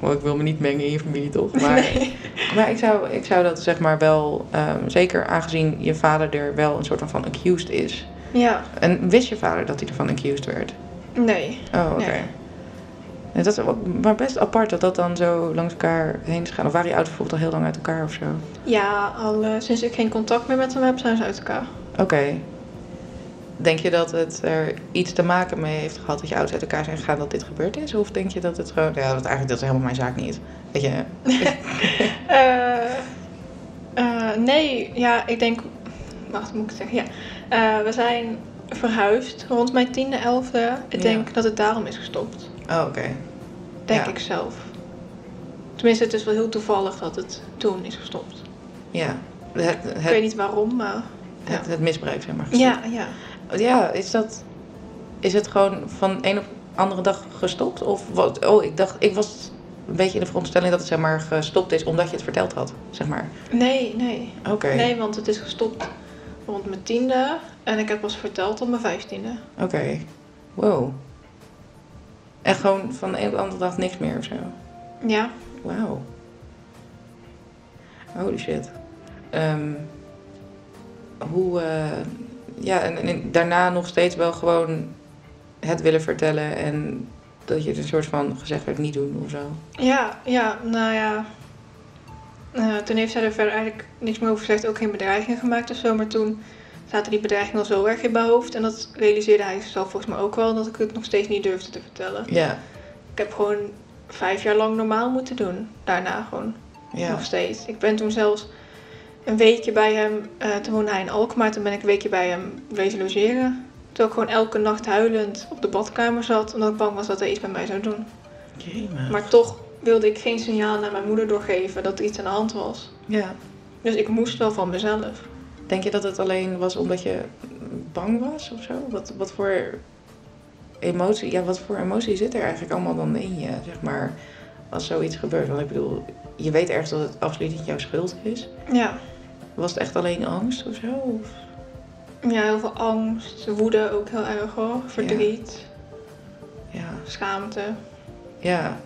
Well, ik wil me niet mengen in je familie toch? Maar,
Nee.
maar ik, zou, ik zou dat zeg maar wel. ehm, zeker aangezien je vader er wel een soort van, van accused is.
Ja,
En wist je vader dat hij ervan accused werd?
nee.
Oh, oké.
Nee.
Nee, Dat is wel- maar best apart dat dat dan zo langs elkaar heen is gaan. Of waren die ouders bijvoorbeeld al heel lang uit elkaar of zo?
Ja, al eh, sinds ik geen contact meer met hem heb, zijn ze uit elkaar.
Oké. Denk je dat het er iets te maken mee heeft gehad dat je ouders uit elkaar zijn gegaan dat dit gebeurd is? Of denk je dat het gewoon... Ja, dat eigenlijk dat is helemaal mijn zaak niet. Weet je?
Eh, eh, nee, ja, ik denk. Wacht, moet ik het zeggen? Ja. Eh, we zijn verhuisd rond mijn tiende, elfde. Ik
Ja.
denk dat het daarom is gestopt.
Oh, oké.
Denk
Ja.
ik zelf. Tenminste, het is wel heel toevallig dat het toen is gestopt.
Ja. Het,
Ik weet
het,
niet waarom, maar. Ja,
het, het misbruik, zeg maar.
ja. ja.
Ja, is dat... Is het gewoon van een op... andere dag gestopt? Of wat? Oh, ik dacht, ik was een beetje in de veronderstelling dat het zeg maar gestopt is omdat je het verteld had, zeg maar.
Nee, nee.
Oké.
Nee, want het is gestopt rond mijn tiende. En ik heb pas verteld op mijn vijftiende.
Oké. Wow. En gewoon van de een op de andere dag niks meer of zo.
Ja.
Wauw. Holy shit. Ehm, hoe, eh, ja, en, en daarna nog steeds wel gewoon het willen vertellen en dat je het een soort van gezegd werd niet doen of zo.
Ja, ja, nou ja. Eh, toen heeft zij er verder eigenlijk niks meer over gezegd. Ook geen bedreigingen gemaakt of zo. Maar toen zaten die bedreigingen al zo erg in mijn hoofd. En dat realiseerde hij zichzelf volgens mij ook wel. Dat ik het nog steeds niet durfde te vertellen.
Ja,
Ik heb gewoon vijf jaar lang normaal moeten doen. Daarna gewoon.
ja.
Nog steeds. Ik ben toen zelfs een weekje bij hem, eh toen woonde hij in Alkmaar, toen ben ik een weekje bij hem wezen logeren. Toen ik gewoon elke nacht huilend op de badkamer zat, omdat ik bang was dat hij iets met mij zou doen. Maar toch wilde ik geen signaal naar mijn moeder doorgeven dat er iets aan de hand was.
Ja.
Dus ik moest wel van mezelf.
Denk je dat het alleen was omdat je bang was of zo? Wat, wat voor emotie, ja, wat voor emotie zit er eigenlijk allemaal dan in je, zeg maar, als zoiets gebeurt? Want ik bedoel, je weet ergens dat het absoluut niet jouw schuld is.
Ja,
Was het echt alleen angst of zo? Of-
ja heel veel angst, woede ook heel erg hoor, verdriet,
Ja,
schaamte.
ja.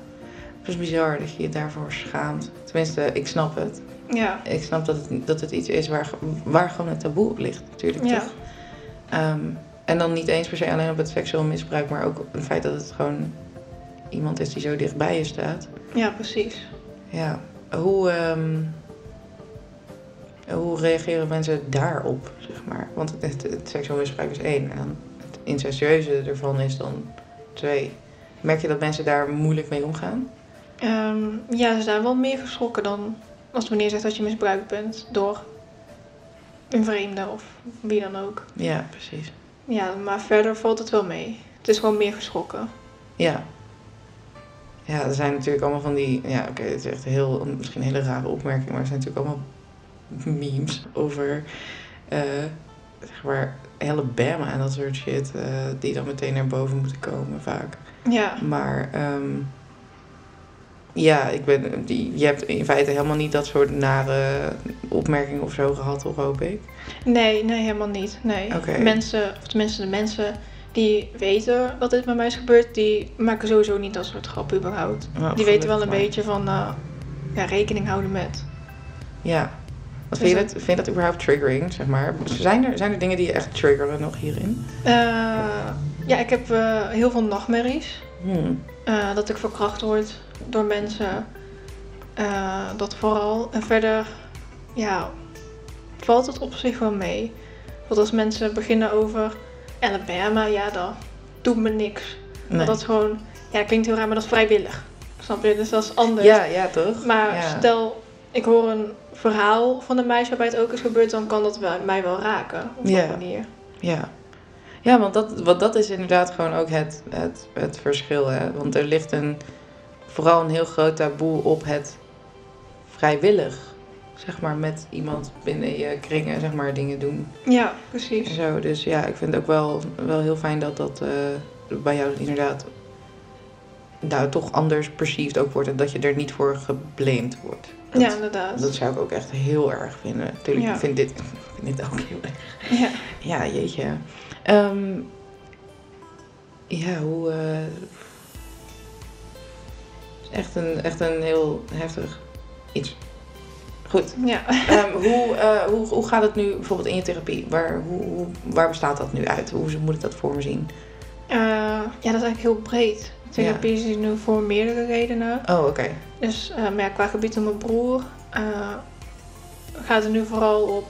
Het is bizar dat je je daarvoor schaamt. Tenminste, ik snap het.
Ja,
Ik snap dat het, dat het iets is waar, ge- waar gewoon het taboe op ligt, natuurlijk.
Ja.
Toch? Ehm, en dan niet eens per se alleen op het seksueel misbruik, maar ook op het feit dat het gewoon iemand is die zo dicht bij je staat.
ja precies.
Ja. Hoe, ehm, hoe reageren mensen daarop, zeg maar? Want het, het, het seksueel misbruik is één. En dan het incestueuze ervan is dan twee. Merk je dat mensen daar moeilijk mee omgaan?
Ehm, ja, ze zijn wel meer geschrokken dan als wanneer je zegt dat je misbruikt bent door een vreemde of wie dan ook.
Ja, precies.
Ja, maar verder valt het wel mee. Het is gewoon meer geschrokken.
Ja. Ja, er zijn natuurlijk allemaal van die... Ja, oké, het is echt heel, misschien een hele rare opmerking... maar er zijn natuurlijk allemaal memes over... eh, zeg maar, Alabama en dat soort shit... eh, die dan meteen naar boven moeten komen vaak.
Ja,
Maar ehm, ja, ik ben, die, je hebt in feite helemaal niet dat soort nare opmerkingen of zo gehad, toch, hoop ik?
nee, nee, helemaal niet. Nee.
Oké.
Mensen, of tenminste de mensen die weten dat dit met mij is gebeurd, die maken sowieso niet dat soort grappen überhaupt.
Nou,
Die weten wel
gelukkig
een
maar.
beetje van eh, ja, rekening houden met.
Ja. Wat
Dus
vind, je
dat-
dat, vind je dat überhaupt triggering, zeg maar? Zijn er, zijn er dingen die je echt triggeren nog hierin?
Eh, ja, ik heb eh, heel veel nachtmerries.
Hmm.
Eh, dat ik verkracht word door mensen. Eh, dat vooral. En verder, ja, valt het op zich wel mee. Want als mensen beginnen over Alabama, ja, dan doet me niks.
Nee.
Want dat is gewoon, ja, dat klinkt heel raar, maar dat is vrijwillig. Snap je? Dus dat is anders.
Ja, ja, toch?
Maar
Ja.
stel, ik hoor een verhaal van een meisje waarbij het ook is gebeurd, dan kan dat wel, mij wel raken. Op
Ja.
die manier.
Ja, ja want, dat, want dat is inderdaad gewoon ook het, het, het verschil. Hè? Want er ligt een, vooral een heel groot taboe op het vrijwillig. Zeg maar met iemand binnen je kringen, zeg maar, dingen doen.
Ja,
En
precies.
zo. Dus ja, ik vind het ook wel, wel heel fijn dat dat eh, bij jou inderdaad nou, toch anders perceived ook wordt. En dat je er niet voor geblamed wordt. Dat,
ja, inderdaad.
dat zou ik ook echt heel erg vinden. Natuurlijk,
Ja.
ik vind dit, ik vind dit ook heel erg.
Ja.
Ja, jeetje. Ehm, ja, hoe. eh, is echt, een, echt een heel heftig iets. Goed.
ja.
Ehm, hoe, eh, hoe, hoe gaat het nu bijvoorbeeld in je therapie? Waar, hoe, hoe- waar bestaat dat nu uit? Hoe moet ik dat voor me zien?
Eh, ja, dat is eigenlijk heel breed. Therapie is hier nu voor meerdere redenen.
Oh, oké.
Dus eh, maar ja, qua gebied van mijn broer eh, gaat het nu vooral op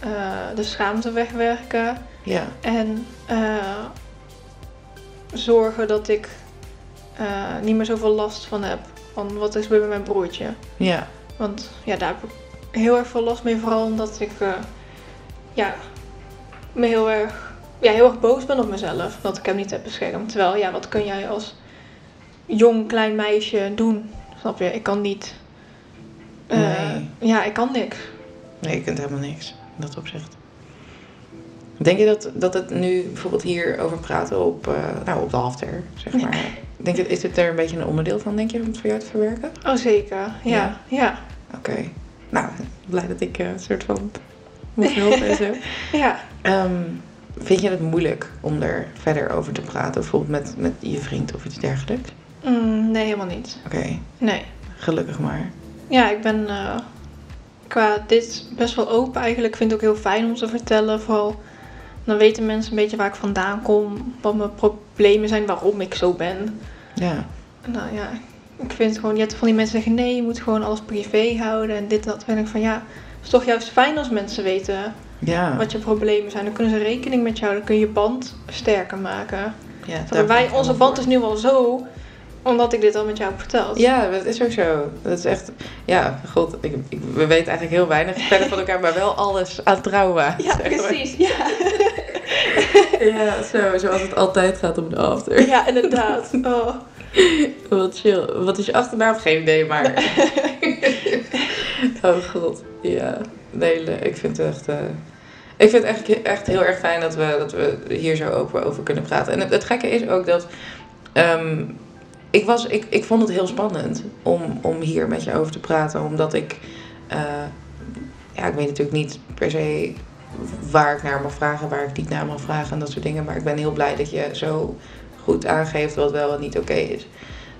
eh, de schaamte wegwerken.
Ja,
En eh, zorgen dat ik eh, niet meer zoveel last van heb. Van wat is gebeurd met mijn broertje.
ja,
Want ja, daar heb ik heel erg veel last mee. Vooral omdat ik eh, ja, me heel erg, ja, heel erg boos ben op mezelf. Dat ik hem niet heb beschermd. Terwijl, ja, wat kun jij als jong klein meisje doen? Snap je? Ik kan niet. eh,
Nee.
Ja, ik kan niks.
nee, je kunt helemaal niks in dat opzicht. Denk je dat, dat het nu bijvoorbeeld hier over praten op, eh, nou, op de halfter, zeg maar. Denk je, is het er een beetje een onderdeel van, denk je, om het voor jou te verwerken?
Oh, zeker. Ja,
Ja.
ja. ja.
Oké. Nou, blij dat ik eh, een soort van moet helpen en zo. Ehm, vind je het moeilijk om er verder over te praten? Bijvoorbeeld met, met je vriend of iets dergelijks?
Mm, nee, helemaal niet.
Oké,
Nee.
gelukkig maar.
Ja, ik ben eh, qua dit best wel open eigenlijk. Ik vind het ook heel fijn om te vertellen. Vooral dan weten mensen een beetje waar ik vandaan kom. Wat mijn problemen zijn, waarom ik zo ben.
Ja,
En dan ja, ik vind gewoon... Je hebt van die mensen die zeggen nee, je moet gewoon alles privé houden. En dit en dat. Dan denk ik van ja, het is toch juist fijn als mensen weten
ja.
wat je problemen zijn. Dan kunnen ze rekening met jou. Dan kun je je band sterker maken.
ja daar
Want wij,
ben ik
onze
helemaal
band is nu al zo, omdat ik dit al met jou heb verteld.
Ja, dat is ook zo. Dat is echt... Ja, god, ik, ik- we weten eigenlijk heel weinig verder van elkaar, maar wel alles aan trouw waagt,
Ja,
zeg maar.
precies. Ja,
Ja, zo, zoals het altijd gaat om de after.
ja inderdaad. Oh.
Wat chill. Wat is je achternaam? Geen idee, maar... oh god, ja. Nee, le- ik vind het echt... eh, Ik vind het echt, echt heel erg fijn dat we, dat we hier zo open over kunnen praten. En het, het gekke is ook dat... ehm, ik, was, ik, ik vond het heel spannend om, om hier met je over te praten. Omdat ik... eh, ja, ik weet natuurlijk niet per se waar ik naar mag vragen, waar ik niet naar mag vragen en dat soort dingen. Maar ik ben heel blij dat je zo goed aangeeft wat wel en niet oké is.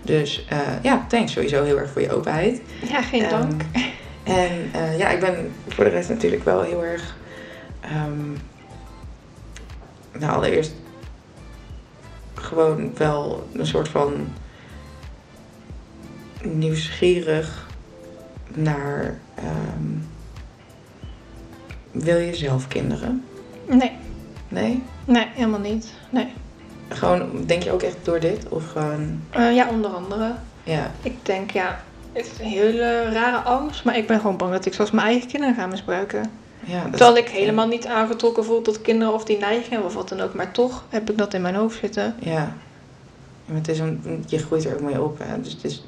Dus eh, ja, thanks sowieso heel erg voor je openheid.
Ja, geen
Ehm,
dank.
En eh, ja, ik ben voor de rest natuurlijk wel heel erg. ehm, nou, allereerst gewoon wel een soort van nieuwsgierig naar. ehm, wil je zelf kinderen?
Nee,
Nee?
nee, helemaal niet. Nee.
Gewoon, denk je ook echt door dit? Of gewoon,
Eh, ja, onder andere.
ja.
Ik denk, ja, het is een hele rare angst, maar ik ben gewoon bang dat ik zelfs mijn eigen kinderen ga misbruiken.
ja dat-
Terwijl ik helemaal niet aangetrokken voel tot kinderen of die neiging hebben of wat dan ook, maar toch heb ik dat in mijn hoofd zitten.
Ja. Maar het is een, je groeit er ook mee op. Hè? Dus het is,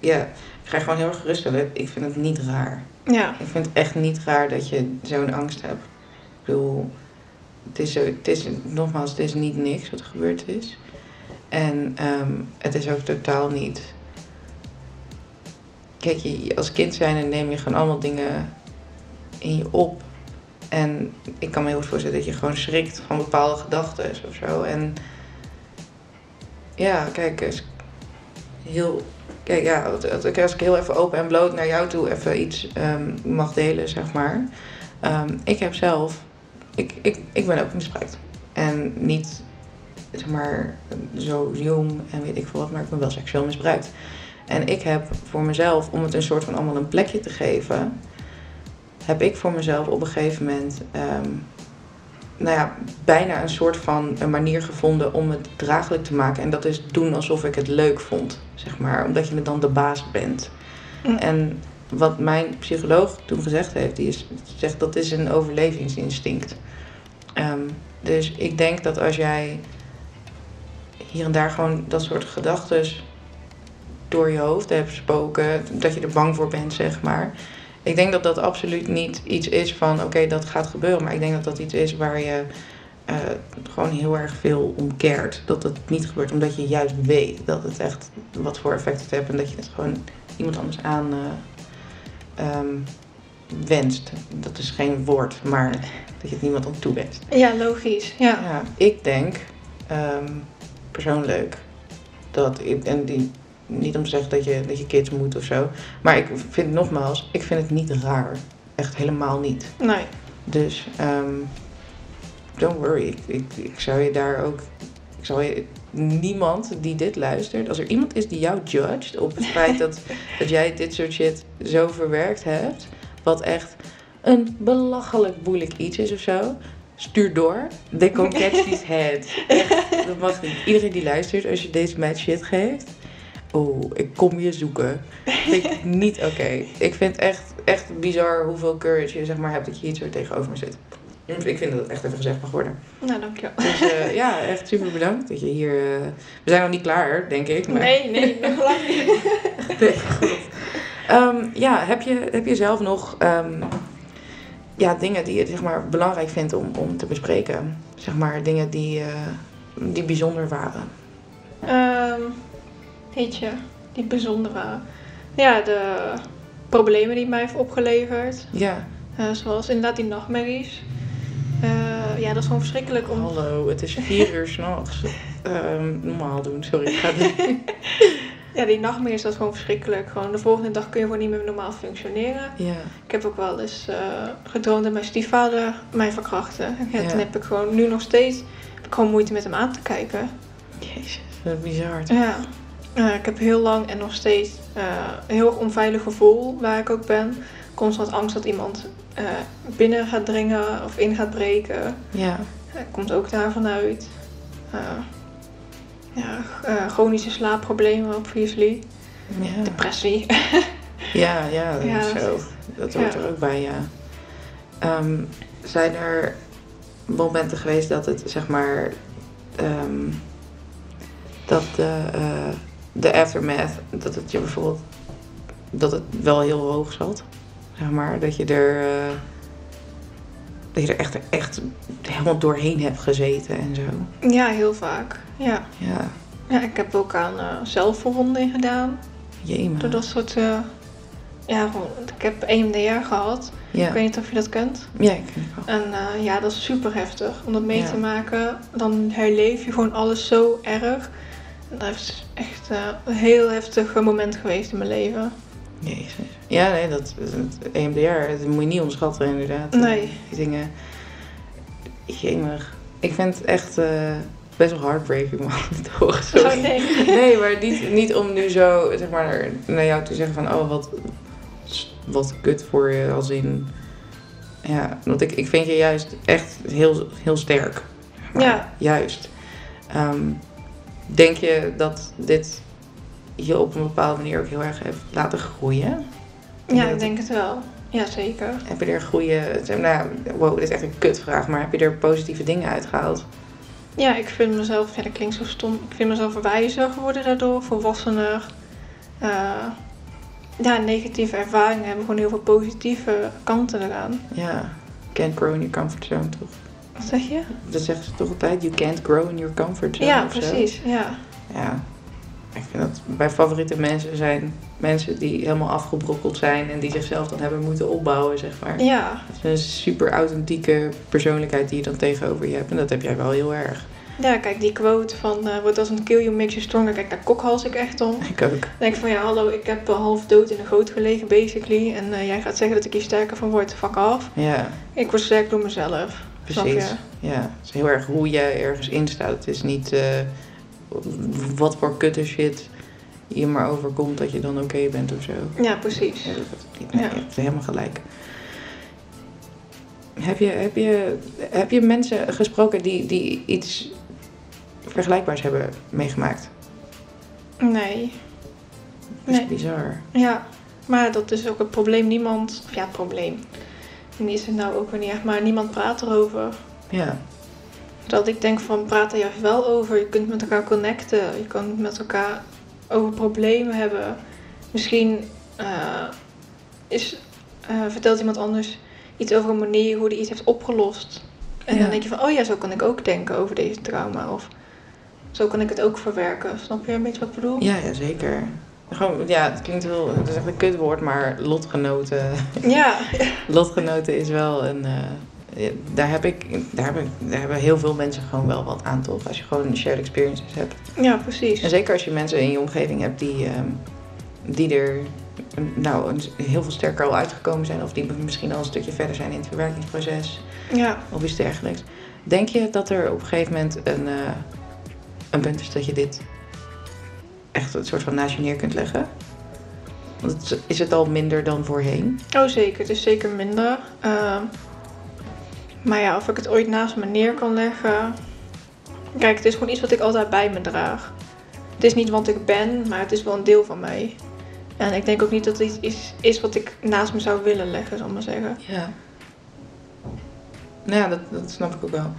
ja, ik ga gewoon heel erg geruststellen. Ik vind het niet raar.
Ja,
Ik vind het echt niet raar dat je zo'n angst hebt. Ik bedoel, het is, zo, het is nogmaals, het is niet niks wat er gebeurd is. En ehm, het is ook totaal niet. Kijk, je, als kind zijn neem je gewoon allemaal dingen in je op. En ik kan me heel goed voorstellen dat je gewoon schrikt van bepaalde gedachten of zo. En ja, kijk, als- heel Kijk, ja, als- als ik- als ik heel even open en bloot naar jou toe even iets ehm, mag delen, zeg maar. Ehm, ik heb zelf, ik, ik, ik ben ook misbruikt. En niet, zeg maar, zo jong en weet ik veel wat, maar ik ben wel seksueel misbruikt. En ik heb voor mezelf, om het een soort van allemaal een plekje te geven, heb ik voor mezelf op een gegeven moment, ehm, nou ja, bijna een soort van een manier gevonden om het draaglijk te maken. En dat is doen alsof ik het leuk vond, zeg maar, omdat je dan de baas bent.
Mm.
En wat mijn psycholoog toen gezegd heeft, die is, zegt dat is een overlevingsinstinct. Ehm, dus ik denk dat als jij hier en daar gewoon dat soort gedachten door je hoofd hebt spoken, dat je er bang voor bent, zeg maar. Ik denk dat dat absoluut niet iets is van oké, dat gaat gebeuren. Maar ik denk dat dat iets is waar je eh, gewoon heel erg veel om keert. Dat het niet gebeurt, omdat je juist weet dat het echt wat voor effect het heeft en dat je het gewoon iemand anders aan eh, ehm, wenst. Dat is geen woord, maar dat je het niemand aan toewenst. Nou
ja logisch. Ja.
Ja, ik denk ehm, persoonlijk dat ik, en die, niet om te zeggen dat je, dat je kids moet of zo, maar ik vind nogmaals, ik vind het niet raar. Echt helemaal niet.
Nee,
Dus ehm, don't worry, ik, ik, ik zou je daar ook, ik zou je, niemand die dit luistert, als er iemand is die jou judged op het feit dat, dat jij dit soort shit zo verwerkt hebt, wat echt een belachelijk moeilijk iets is of zo, stuur door. They can catch these heads. Echt, dat mag niet. Iedereen die luistert, als je deze meid shit geeft, oh, ik kom je zoeken. Vind ik niet oké. Ik vind echt, echt bizar hoeveel courage je zeg maar hebt dat je hier zo tegenover me zit. Ik vind dat het echt even gezegd mag worden.
nou dankjewel.
Dus eh, ja, echt super bedankt dat je hier... eh, we zijn nog niet klaar, denk ik. Maar...
Nee, nee, nog lang niet.
Nee, goed. Ehm, ja, heb je, heb je zelf nog ehm, ja, dingen die je zeg maar, belangrijk vindt om, om te bespreken. Zeg maar dingen die, eh, die bijzonder waren.
Ehm jeetje, die bijzonder waren. Ja, de problemen die het mij heeft opgeleverd.
Ja,
Eh, zoals inderdaad die nachtmerries. Eh, ja, dat is gewoon verschrikkelijk om...
hallo, het is vier uur s'nachts. Ehm normaal doen, sorry. Ik ga dit-
Ja, die nachtmerries, dat is gewoon verschrikkelijk. Gewoon de volgende dag kun je gewoon niet meer normaal functioneren.
ja,
Ik heb ook wel eens eh, gedroomd dat mijn stiefvader mij verkrachtte. Ja,
Ja.
Toen heb ik gewoon nu nog steeds heb ik gewoon moeite met hem aan te kijken.
jezus, dat is bizar.
Ja. Eh, ik heb heel lang en nog steeds eh, een heel onveilig gevoel waar ik ook ben. Constant angst dat iemand eh, binnen gaat dringen of in gaat breken.
Ja,
Eh, komt ook daarvan uit. Eh, ja, g- eh, chronische slaapproblemen, obviously.
ja,
Depressie.
ja, ja, dat
Ja,
is
dat
zo.
is-
Dat hoort
ja.
er ook bij, ja. Ehm, zijn er momenten geweest dat het, zeg maar, ehm, dat de, eh, de aftermath, dat het je bijvoorbeeld, dat het wel heel hoog zat? Zeg maar, dat je er, eh, dat je er echt, echt helemaal doorheen hebt gezeten en zo.
ja, heel vaak. Ja.
Ja,
ja ik heb ook aan eh zelfverwonding gedaan. Door
jemig.
dat soort... eh, ja, gewoon, ik heb E EMDR gehad.
Ja,
Ik weet niet of je dat kent.
ja, ik ken het wel.
En eh, ja, dat is super heftig. Om dat mee
Ja.
te maken, dan herleef je gewoon alles zo erg. En dat is echt eh, een heel heftig eh, moment geweest in mijn leven.
Jezus. Ja, nee, dat, dat E EMDR, dat moet je niet onderschatten inderdaad.
Nee.
Die dingen. Jemig. Ik vind het echt eh, best wel heartbreaking, man. Toch? Sorry.
Oh, nee.
Nee, maar niet, niet om nu zo zeg maar, naar jou te zeggen van oh, wat, wat kut voor je als in. Ja, want ik, ik vind je juist echt heel, heel sterk. Maar
Ja.
Juist. Ehm, denk je dat dit je op een bepaalde manier ook heel erg heeft laten groeien?
Ja,
dat-
ik denk het wel. Ja, zeker.
Heb je er goede. zeg maar, Nou, wow, dit is echt een kutvraag, maar heb je er positieve dingen uitgehaald?
Ja, ik vind mezelf, ja, dat klinkt zo stom, ik vind mezelf wijzer geworden daardoor, volwassener. Eh, ja, negatieve ervaringen hebben gewoon heel veel positieve kanten eraan.
Ja. Can't grow in your comfort zone, toch?
Wat zeg je?
Dat zeggen ze toch altijd? You can't grow in your comfort zone.
ja,
of zo.
precies. Ja.
Ja, ik vind dat mijn favoriete mensen zijn mensen die helemaal afgebrokkeld zijn en die zichzelf dan hebben moeten opbouwen, zeg maar.
Ja.
Het is een super authentieke persoonlijkheid die je dan tegenover je hebt en dat heb jij wel heel erg.
ja, kijk, die quote van eh, what doesn't kill you makes you stronger, kijk, daar kokhals ik echt om.
Ik ook.
Dan denk ik van, ja, hallo, ik heb eh, half dood in de goot gelegen, basically. En eh, jij gaat zeggen dat ik hier sterker van word, fuck off.
Ja,
Ik word sterk door mezelf. Snap
precies.
je?
Ja, het is heel erg hoe jij ergens in staat. Het is niet eh, wat voor kutte shit je maar overkomt dat je dan oké bent of zo.
Ja, precies.
Ja, dat- nee,
Ja.
Je hebt helemaal gelijk. Heb je, heb je, heb je mensen gesproken die, die iets vergelijkbaars hebben meegemaakt?
Nee.
Dat is
Nee.
bizar.
Ja, maar dat is ook het probleem. Niemand, of ja, het probleem. En is het nou ook weer niet echt, maar niemand praat erover.
Ja,
Dat ik denk van praat er juist wel over. Je kunt met elkaar connecten. Je kan het met elkaar over problemen hebben. Misschien eh, is, eh, vertelt iemand anders iets over een manier hoe die iets heeft opgelost. En
Ja.
dan denk je van, oh ja, zo kan ik ook denken over deze trauma. Of zo kan ik het ook verwerken. Snap je een beetje wat ik bedoel?
ja, ja zeker. Gewoon, ja, het klinkt wel, het is echt een kutwoord, maar lotgenoten.
Ja,
Lotgenoten is wel een. eh, ja, daar, heb ik, daar, heb ik, daar hebben heel veel mensen gewoon wel wat aan, toch? Als je gewoon shared experiences hebt.
ja precies.
En zeker als je mensen in je omgeving hebt die, ehm, die er mm, nou, een- heel veel sterker al uitgekomen zijn, of die misschien al een stukje verder zijn in het verwerkingsproces
Ja.
of iets dergelijks. Denk je dat er op een gegeven moment een, eh, een punt is dat je dit echt een soort van naast je neer kunt leggen? Want het is- is het al minder dan voorheen?
Oh zeker, het is zeker minder. Ehm, maar ja, of ik het ooit naast me neer kan leggen. Kijk, het is gewoon iets wat ik altijd bij me draag. Het is niet wat ik ben, maar het is wel een deel van mij. En ik denk ook niet dat het iets is, is wat ik naast me zou willen leggen, zal ik maar zeggen.
Ja. Nou ja, dat, dat snap ik ook wel.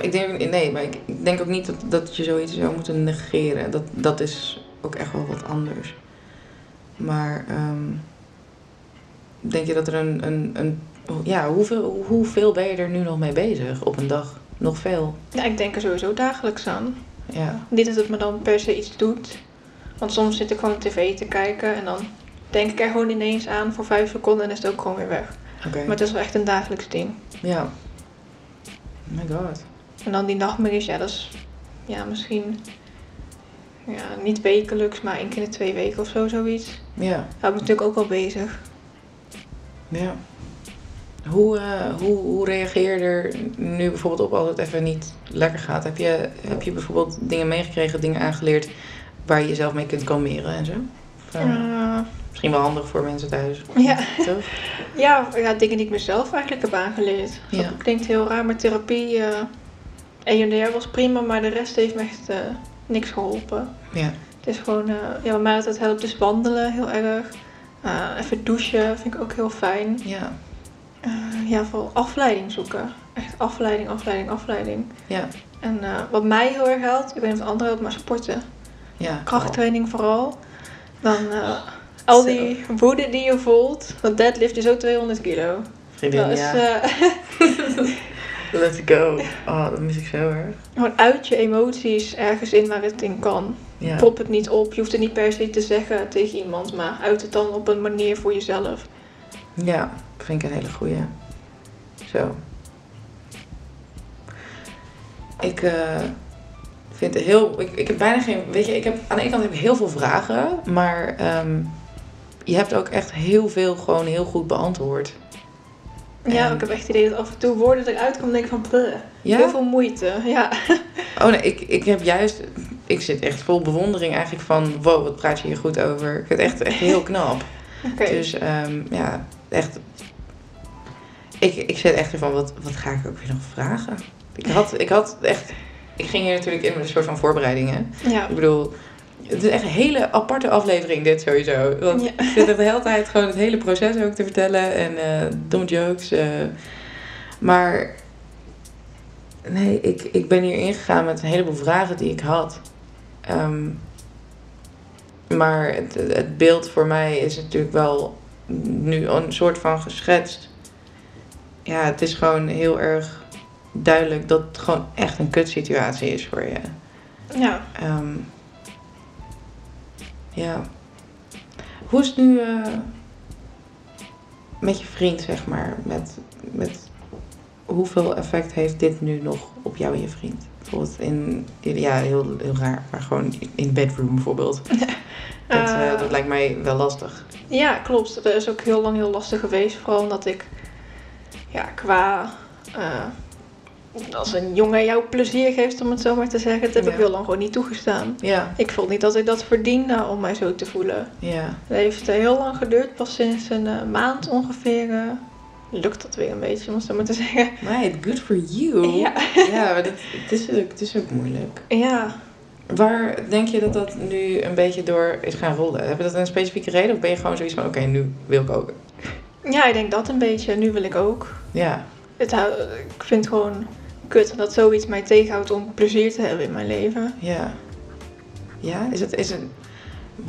Ik denk, nee, maar ik, ik denk ook niet dat, dat je zoiets zou moeten negeren. Dat, dat is ook echt wel wat anders. Maar ehm, denk je dat er een, een, een ja, hoeveel, hoeveel ben je er nu nog mee bezig op een dag? Nog veel.
Ja, ik denk er sowieso dagelijks aan.
Ja.
Niet dat het me dan per se iets doet. Want soms zit ik gewoon tv te kijken en dan denk ik er gewoon ineens aan voor vijf seconden en is het ook gewoon weer weg.
Oké.
Maar het is wel echt een dagelijks ding.
Ja. Oh my god.
En dan die nachtmerries, ja, dat is ja, misschien ja, niet wekelijks, maar één keer in de twee weken of zo, zoiets.
Ja.
Houdt me natuurlijk ook wel bezig.
Ja. Hoe, eh, hoe, hoe reageer je er nu bijvoorbeeld op als het even niet lekker gaat? Heb je, heb je bijvoorbeeld dingen meegekregen, dingen aangeleerd waar je jezelf mee kunt kalmeren en zo? Of, eh,
Eh,
Misschien wel handig voor mensen thuis.
ja.
Toch?
Ja, ja, dingen die ik mezelf eigenlijk heb aangeleerd.
Ja.
Dat klinkt heel raar, maar therapie eh EMDR was prima, maar de rest heeft me echt eh, niks geholpen.
Ja.
Het is gewoon, eh, ja, bij mij altijd helpt dus wandelen heel erg. Eh, even douchen vind ik ook heel fijn.
Ja.
Eh, ja, vooral afleiding zoeken. Echt afleiding, afleiding, afleiding.
Ja.
En eh, wat mij heel erg helpt, ik weet niet of het anderen helpt, maar sporten.
Ja.
Krachttraining vooral. Dan eh, al
Zo.
die woede die je voelt. Want deadlift is ook 200 kilo.
Vriendin,
Dat is
ja.
eh,
Let's go. Oh, dat mis ik zo erg.
gewoon uit je emoties ergens in waar het in kan.
Ja.
Prop het niet op. Je hoeft het niet per se te zeggen tegen iemand, maar uit het dan op een manier voor jezelf.
Ja, vind ik een hele goeie. Zo. Ik eh, vind het heel. Ik, ik heb bijna geen. Weet je, ik heb, aan de ene kant heb ik heel veel vragen, maar ehm, je hebt ook echt heel veel gewoon heel goed beantwoord.
Ja,
En-
ik heb echt het idee dat af en toe woorden eruit komen en denk ik van bleh,
Ja?
heel veel moeite. Ja.
Oh nee, ik, ik heb juist. Ik zit echt vol bewondering eigenlijk van. Wow, wat praat je hier goed over? Ik vind het echt, echt heel knap.
Oké.
Dus ehm, ja, echt. Ik, ik zit echt ervan, wat, wat ga ik ook weer nog vragen? Ik had, ik had echt. Ik ging hier natuurlijk in met een soort van voorbereidingen.
Ja.
Ik bedoel, het is echt een hele aparte aflevering, dit sowieso. Want
Ja.
ik zit echt de hele tijd gewoon het hele proces ook te vertellen en eh domme jokes. eh. maar. Nee, ik, ik ben hier ingegaan met een heleboel vragen die ik had. Ehm, maar het, het beeld voor mij is natuurlijk wel nu een soort van geschetst. Ja, het is gewoon heel erg duidelijk dat het gewoon echt een kutsituatie is voor je.
ja.
Ehm, ja. Hoe is het nu eh, met je vriend, zeg maar? Met, met hoeveel effect heeft dit nu nog op jou en je vriend? Bijvoorbeeld in, ja, heel, heel raar, maar gewoon in bedroom bijvoorbeeld. Dat, eh,
Eh,
dat lijkt mij wel lastig.
Ja, klopt. Dat is ook heel lang heel lastig geweest. Vooral omdat ik ja, qua. eh, als een jongen jou plezier geeft, om het zo maar te zeggen, dat heb
Ja.
ik heel lang gewoon niet toegestaan.
Ja,
Ik vond niet dat ik dat verdiende om mij zo te voelen.
ja,
Dat heeft eh, heel lang geduurd. Pas sinds een eh, maand ongeveer eh, lukt dat weer een beetje, om het zo maar te zeggen.
Meid, good for you.
Ja.
Ja, maar dit, het, is ook, het is ook moeilijk.
ja.
Waar denk je dat dat nu een beetje door is gaan rollen? Heb je dat een specifieke reden of ben je gewoon zoiets van: oké, nu wil ik ook?
Ja, ik denk dat een beetje. Nu wil ik ook.
Ja,
Het, hou- ik vind het gewoon kut dat zoiets mij tegenhoudt om plezier te hebben in mijn leven.
ja. Ja, is het. Is het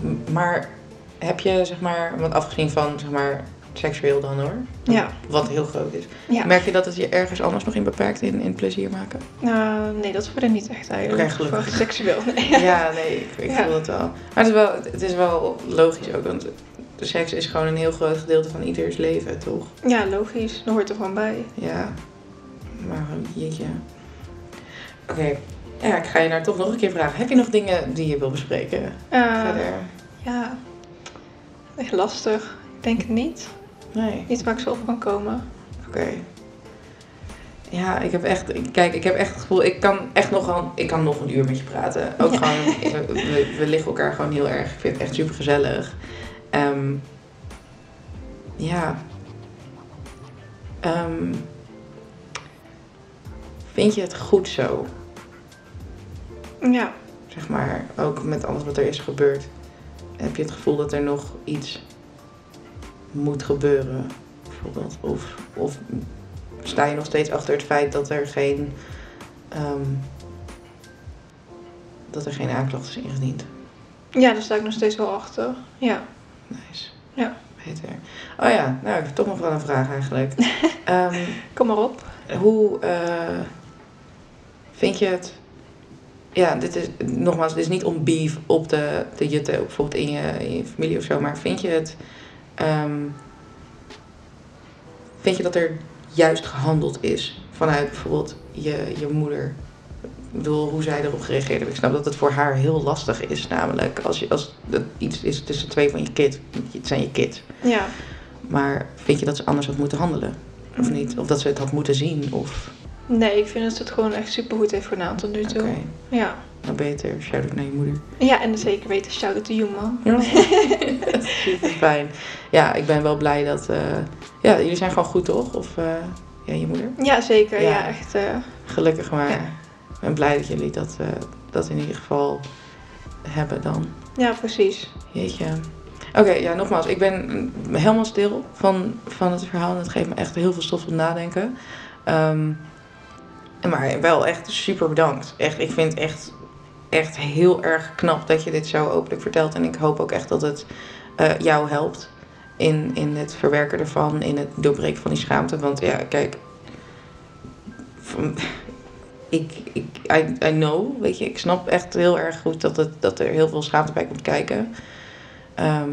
m- maar heb je zeg maar, want afgezien van zeg maar seksueel dan hoor,
Ja.
wat heel groot is,
Ja.
merk je dat het je ergens anders nog in beperkt in, in plezier maken?
Eh, nee, dat verder niet echt eigenlijk.
Oké, gelukkig.
Voor seksueel. nee.
Ja, nee, ik, ik
Ja.
voel het wel. Maar het is wel, het is wel logisch ook, want seks is gewoon een heel groot gedeelte van ieders leven, toch?
Ja, logisch. Dat hoort er gewoon bij.
Ja, maar jeetje. Oké, ja, ik ga je nou toch nog een keer vragen. Heb je nog dingen die je wil bespreken
Eh,
verder?
ja. Echt lastig. Ik denk het niet.
Nee,
Niet waar ik zo op kan komen.
oké. Ja, ik heb echt, ik- kijk, ik heb echt het gevoel, ik kan echt nog een, ik kan nog een uur met je praten. Ook
Ja.
gewoon, we, we- we liggen elkaar gewoon heel erg. Ik vind het echt super gezellig. ja. Ehm, vind je het goed zo?
Ja.
zeg maar, ook met alles wat er is gebeurd, heb je het gevoel dat er nog iets moet gebeuren, bijvoorbeeld? Of, of sta je nog steeds achter het feit dat er geen, ehm, dat er geen aanklacht is ingediend?
Ja, daar sta ik nog steeds wel achter. Ja.
Nice.
Ja.
heet weer. Oh ja, nou, ik heb toch nog wel een vraag eigenlijk. Ehm,
Kom maar op.
hoe eh, vind je het... Ja, dit is nogmaals, dit is niet om beef op de, de jutten, bijvoorbeeld in je, in je familie of zo. Maar vind je het... ehm, vind je dat er juist gehandeld is vanuit bijvoorbeeld je, je moeder? Ik bedoel, hoe zij erop gereageerd heeft. Ik snap dat het voor haar heel lastig is. Namelijk, als, je, als dat iets is tussen twee van je kind, het zijn je kind.
Ja.
Maar vind je dat ze anders had moeten handelen? Of niet? Of dat ze het had moeten zien? Of...
Nee, ik vind dat ze het gewoon echt super goed heeft gedaan tot nu toe.
Oké,
Ja.
dan beter. Shout-out naar je moeder.
ja, en zeker weten, shout out to you, man.
Super fijn. Ja, ik ben wel blij dat... eh, ja, jullie zijn gewoon goed, toch? Of eh, ja, je moeder?
Ja, zeker. Ja,
Ja.
echt. eh,
Gelukkig maar.
Ja.
Ik ben blij dat jullie dat, eh, dat in ieder geval hebben dan.
ja, precies.
Jeetje. Oké, ja, nogmaals. Ik ben mm, helemaal stil van, van het verhaal. En het geeft me echt heel veel stof tot nadenken. Ehm, en maar wel echt super bedankt. Echt, ik vind het echt, echt heel erg knap dat je dit zo openlijk vertelt. En ik hoop ook echt dat het eh, jou helpt in, in het verwerken ervan. In het doorbreken van die schaamte. Want ja, kijk. van- ik, ik, I, I know, weet je. Ik snap echt heel erg goed dat, het, dat er heel veel schaamte bij komt kijken. Ehm,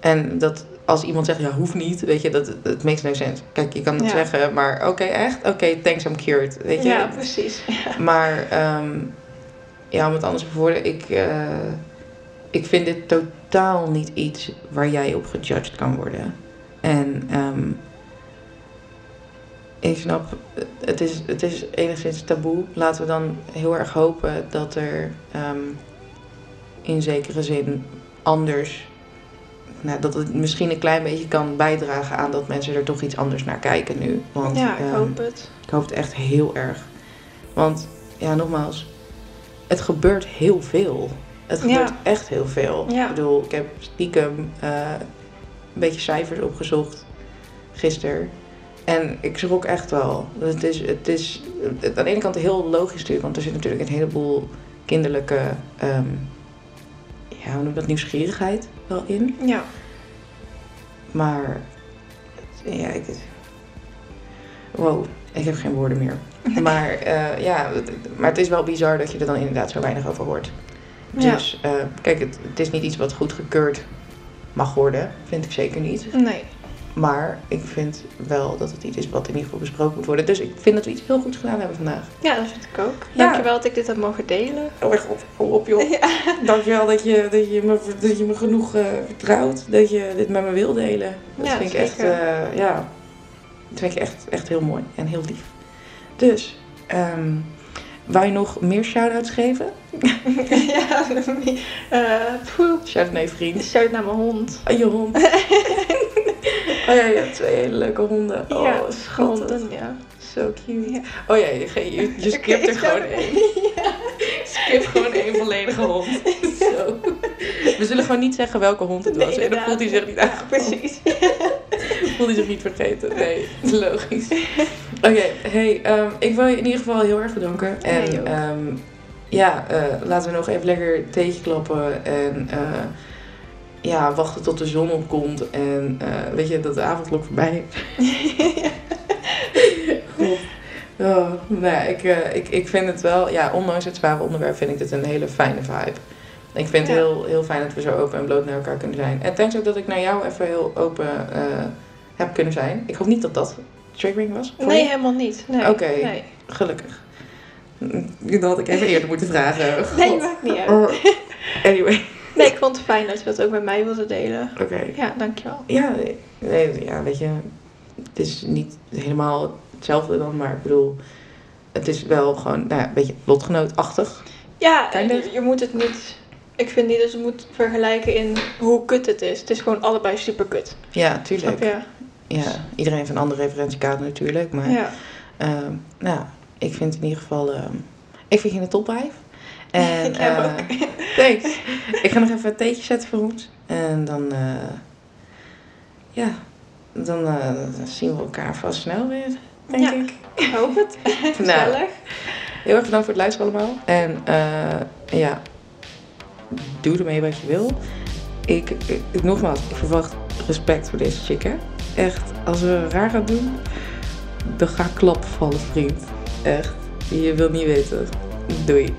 en dat als iemand zegt, ja, hoeft niet, weet je, dat het makes no sense. Kijk, je kan het
Ja.
zeggen, maar oké, echt? Oké, thanks, I'm cured, weet je.
Ja, precies.
Maar ehm, ja, om het anders te verwoorden, ik, eh, ik vind dit totaal niet iets waar jij op gejudged kan worden. En ehm, ik snap, eh, het is, het is enigszins taboe. Laten we dan heel erg hopen dat er ehm, in zekere zin anders. Nou, dat het misschien een klein beetje kan bijdragen aan dat mensen er toch iets anders naar kijken nu. Want,
Ja, ik
ehm,
hoop het.
ik hoop het echt heel erg. Want, ja, nogmaals, het gebeurt heel veel. Het
Ja.
gebeurt echt heel veel.
Ja.
Ik bedoel, ik heb stiekem eh, een beetje cijfers opgezocht gisteren. En ik schrok echt wel. Het is, het is het- aan de ene kant heel logisch natuurlijk, want er zit natuurlijk een heleboel kinderlijke, ehm, ja, hoe noem je dat, nieuwsgierigheid wel in.
Ja.
Maar ja, ik. Wow, ik heb geen woorden meer. Maar eh, ja, het- maar het is wel bizar dat je er dan inderdaad zo weinig over hoort.
Ja.
Dus eh, kijk, het, het is niet iets wat goedgekeurd mag worden, vind ik zeker niet.
Nee.
Maar ik vind wel dat het iets is wat in ieder geval besproken moet worden. Dus ik vind dat we iets heel goeds gedaan hebben vandaag.
Ja, dat vind ik ook.
Ja.
Dankjewel dat ik dit heb mogen delen.
Oh, echt op, kom op joh.
Ja.
Dankjewel dat je, dat je, me, dat je me genoeg eh, vertrouwt. Dat je dit met me wil delen. Dat
Ja,
vind ik
zeker.
echt, eh, ja, dat vind ik echt, echt heel mooi en heel lief. Dus, ehm wou je nog meer shout-outs geven?
ja, Eh, poeh.
Shout-out naar je vriend.
Shout naar mijn hond.
Oh, je hond. oh ja, je hebt twee hele leuke honden. Oh,
ja,
schattig.
honden, ja.
Zo cute.
Ja.
Oh ja, je, ge- je, Dus je skipt
Oké,
er gewoon
shout-
één. Skip gewoon één volledige hond. Zo. We zullen gewoon niet zeggen welke hond het
Nee,
was. en dan
inderdaad.
voelt hij zich niet aangepast.
Precies.
voelde zich niet vergeten. Nee, logisch. Oké, hey, ehm, ik wil je in ieder geval heel erg bedanken. En
Jij ook.
ehm, ja, eh, laten we nog even lekker theetje klappen. En eh, ja, wachten tot de zon opkomt. En eh, weet je, dat de avondklok voorbij is. God. Oh, nou ja, ik, eh, ik, ik vind het wel, ja, ondanks het zware onderwerp vind ik dit een hele fijne vibe. Ik vind het
Ja.
heel, heel fijn dat we zo open en bloot naar elkaar kunnen zijn. En thanks ook dat ik naar jou even heel open eh, heb kunnen zijn. Ik hoop niet dat dat triggering was. voor
Nee,
je.
helemaal niet. Nee.
Oké.
Nee.
Gelukkig. Mm, Dat had ik even eerder moeten vragen. God.
nee, maakt niet uit.
Oh, Anyway,
Nee, ik vond het fijn dat je dat ook met mij wilde delen.
oké.
Ja, dankjewel.
Ja, nee, nee, ja, weet je, het is niet helemaal hetzelfde dan, maar ik bedoel, het is wel gewoon nou ja, een beetje lotgenootachtig.
Ja, eh,
Kind of.
je, je moet het niet... Ik vind niet dat je het moet vergelijken in hoe kut het is. Het is gewoon allebei super kut.
Ja,
Snap
tuurlijk.
je?
Ja, iedereen heeft een andere referentiekader natuurlijk, maar
Ja.
ehm, nou, ja, ik vind in ieder geval, ehm, ik vind je in de top 5. En,
Ik jou
eh, thanks. ik ga nog even een theetje zetten voor ons en dan, eh, ja, dan eh, zien we elkaar vast snel weer, denk
Ja.
ik.
Ik hoop het.
Nou.
Gezellig.
Heel erg bedankt voor het luisteren allemaal. En eh, ja, doe ermee wat je wil. Ik, ik- nogmaals, ik verwacht respect voor deze chick, hè. Echt, als we raar gaat doen, dan ga ik klappen vallen, vriend. Echt, je wilt niet weten. Doei.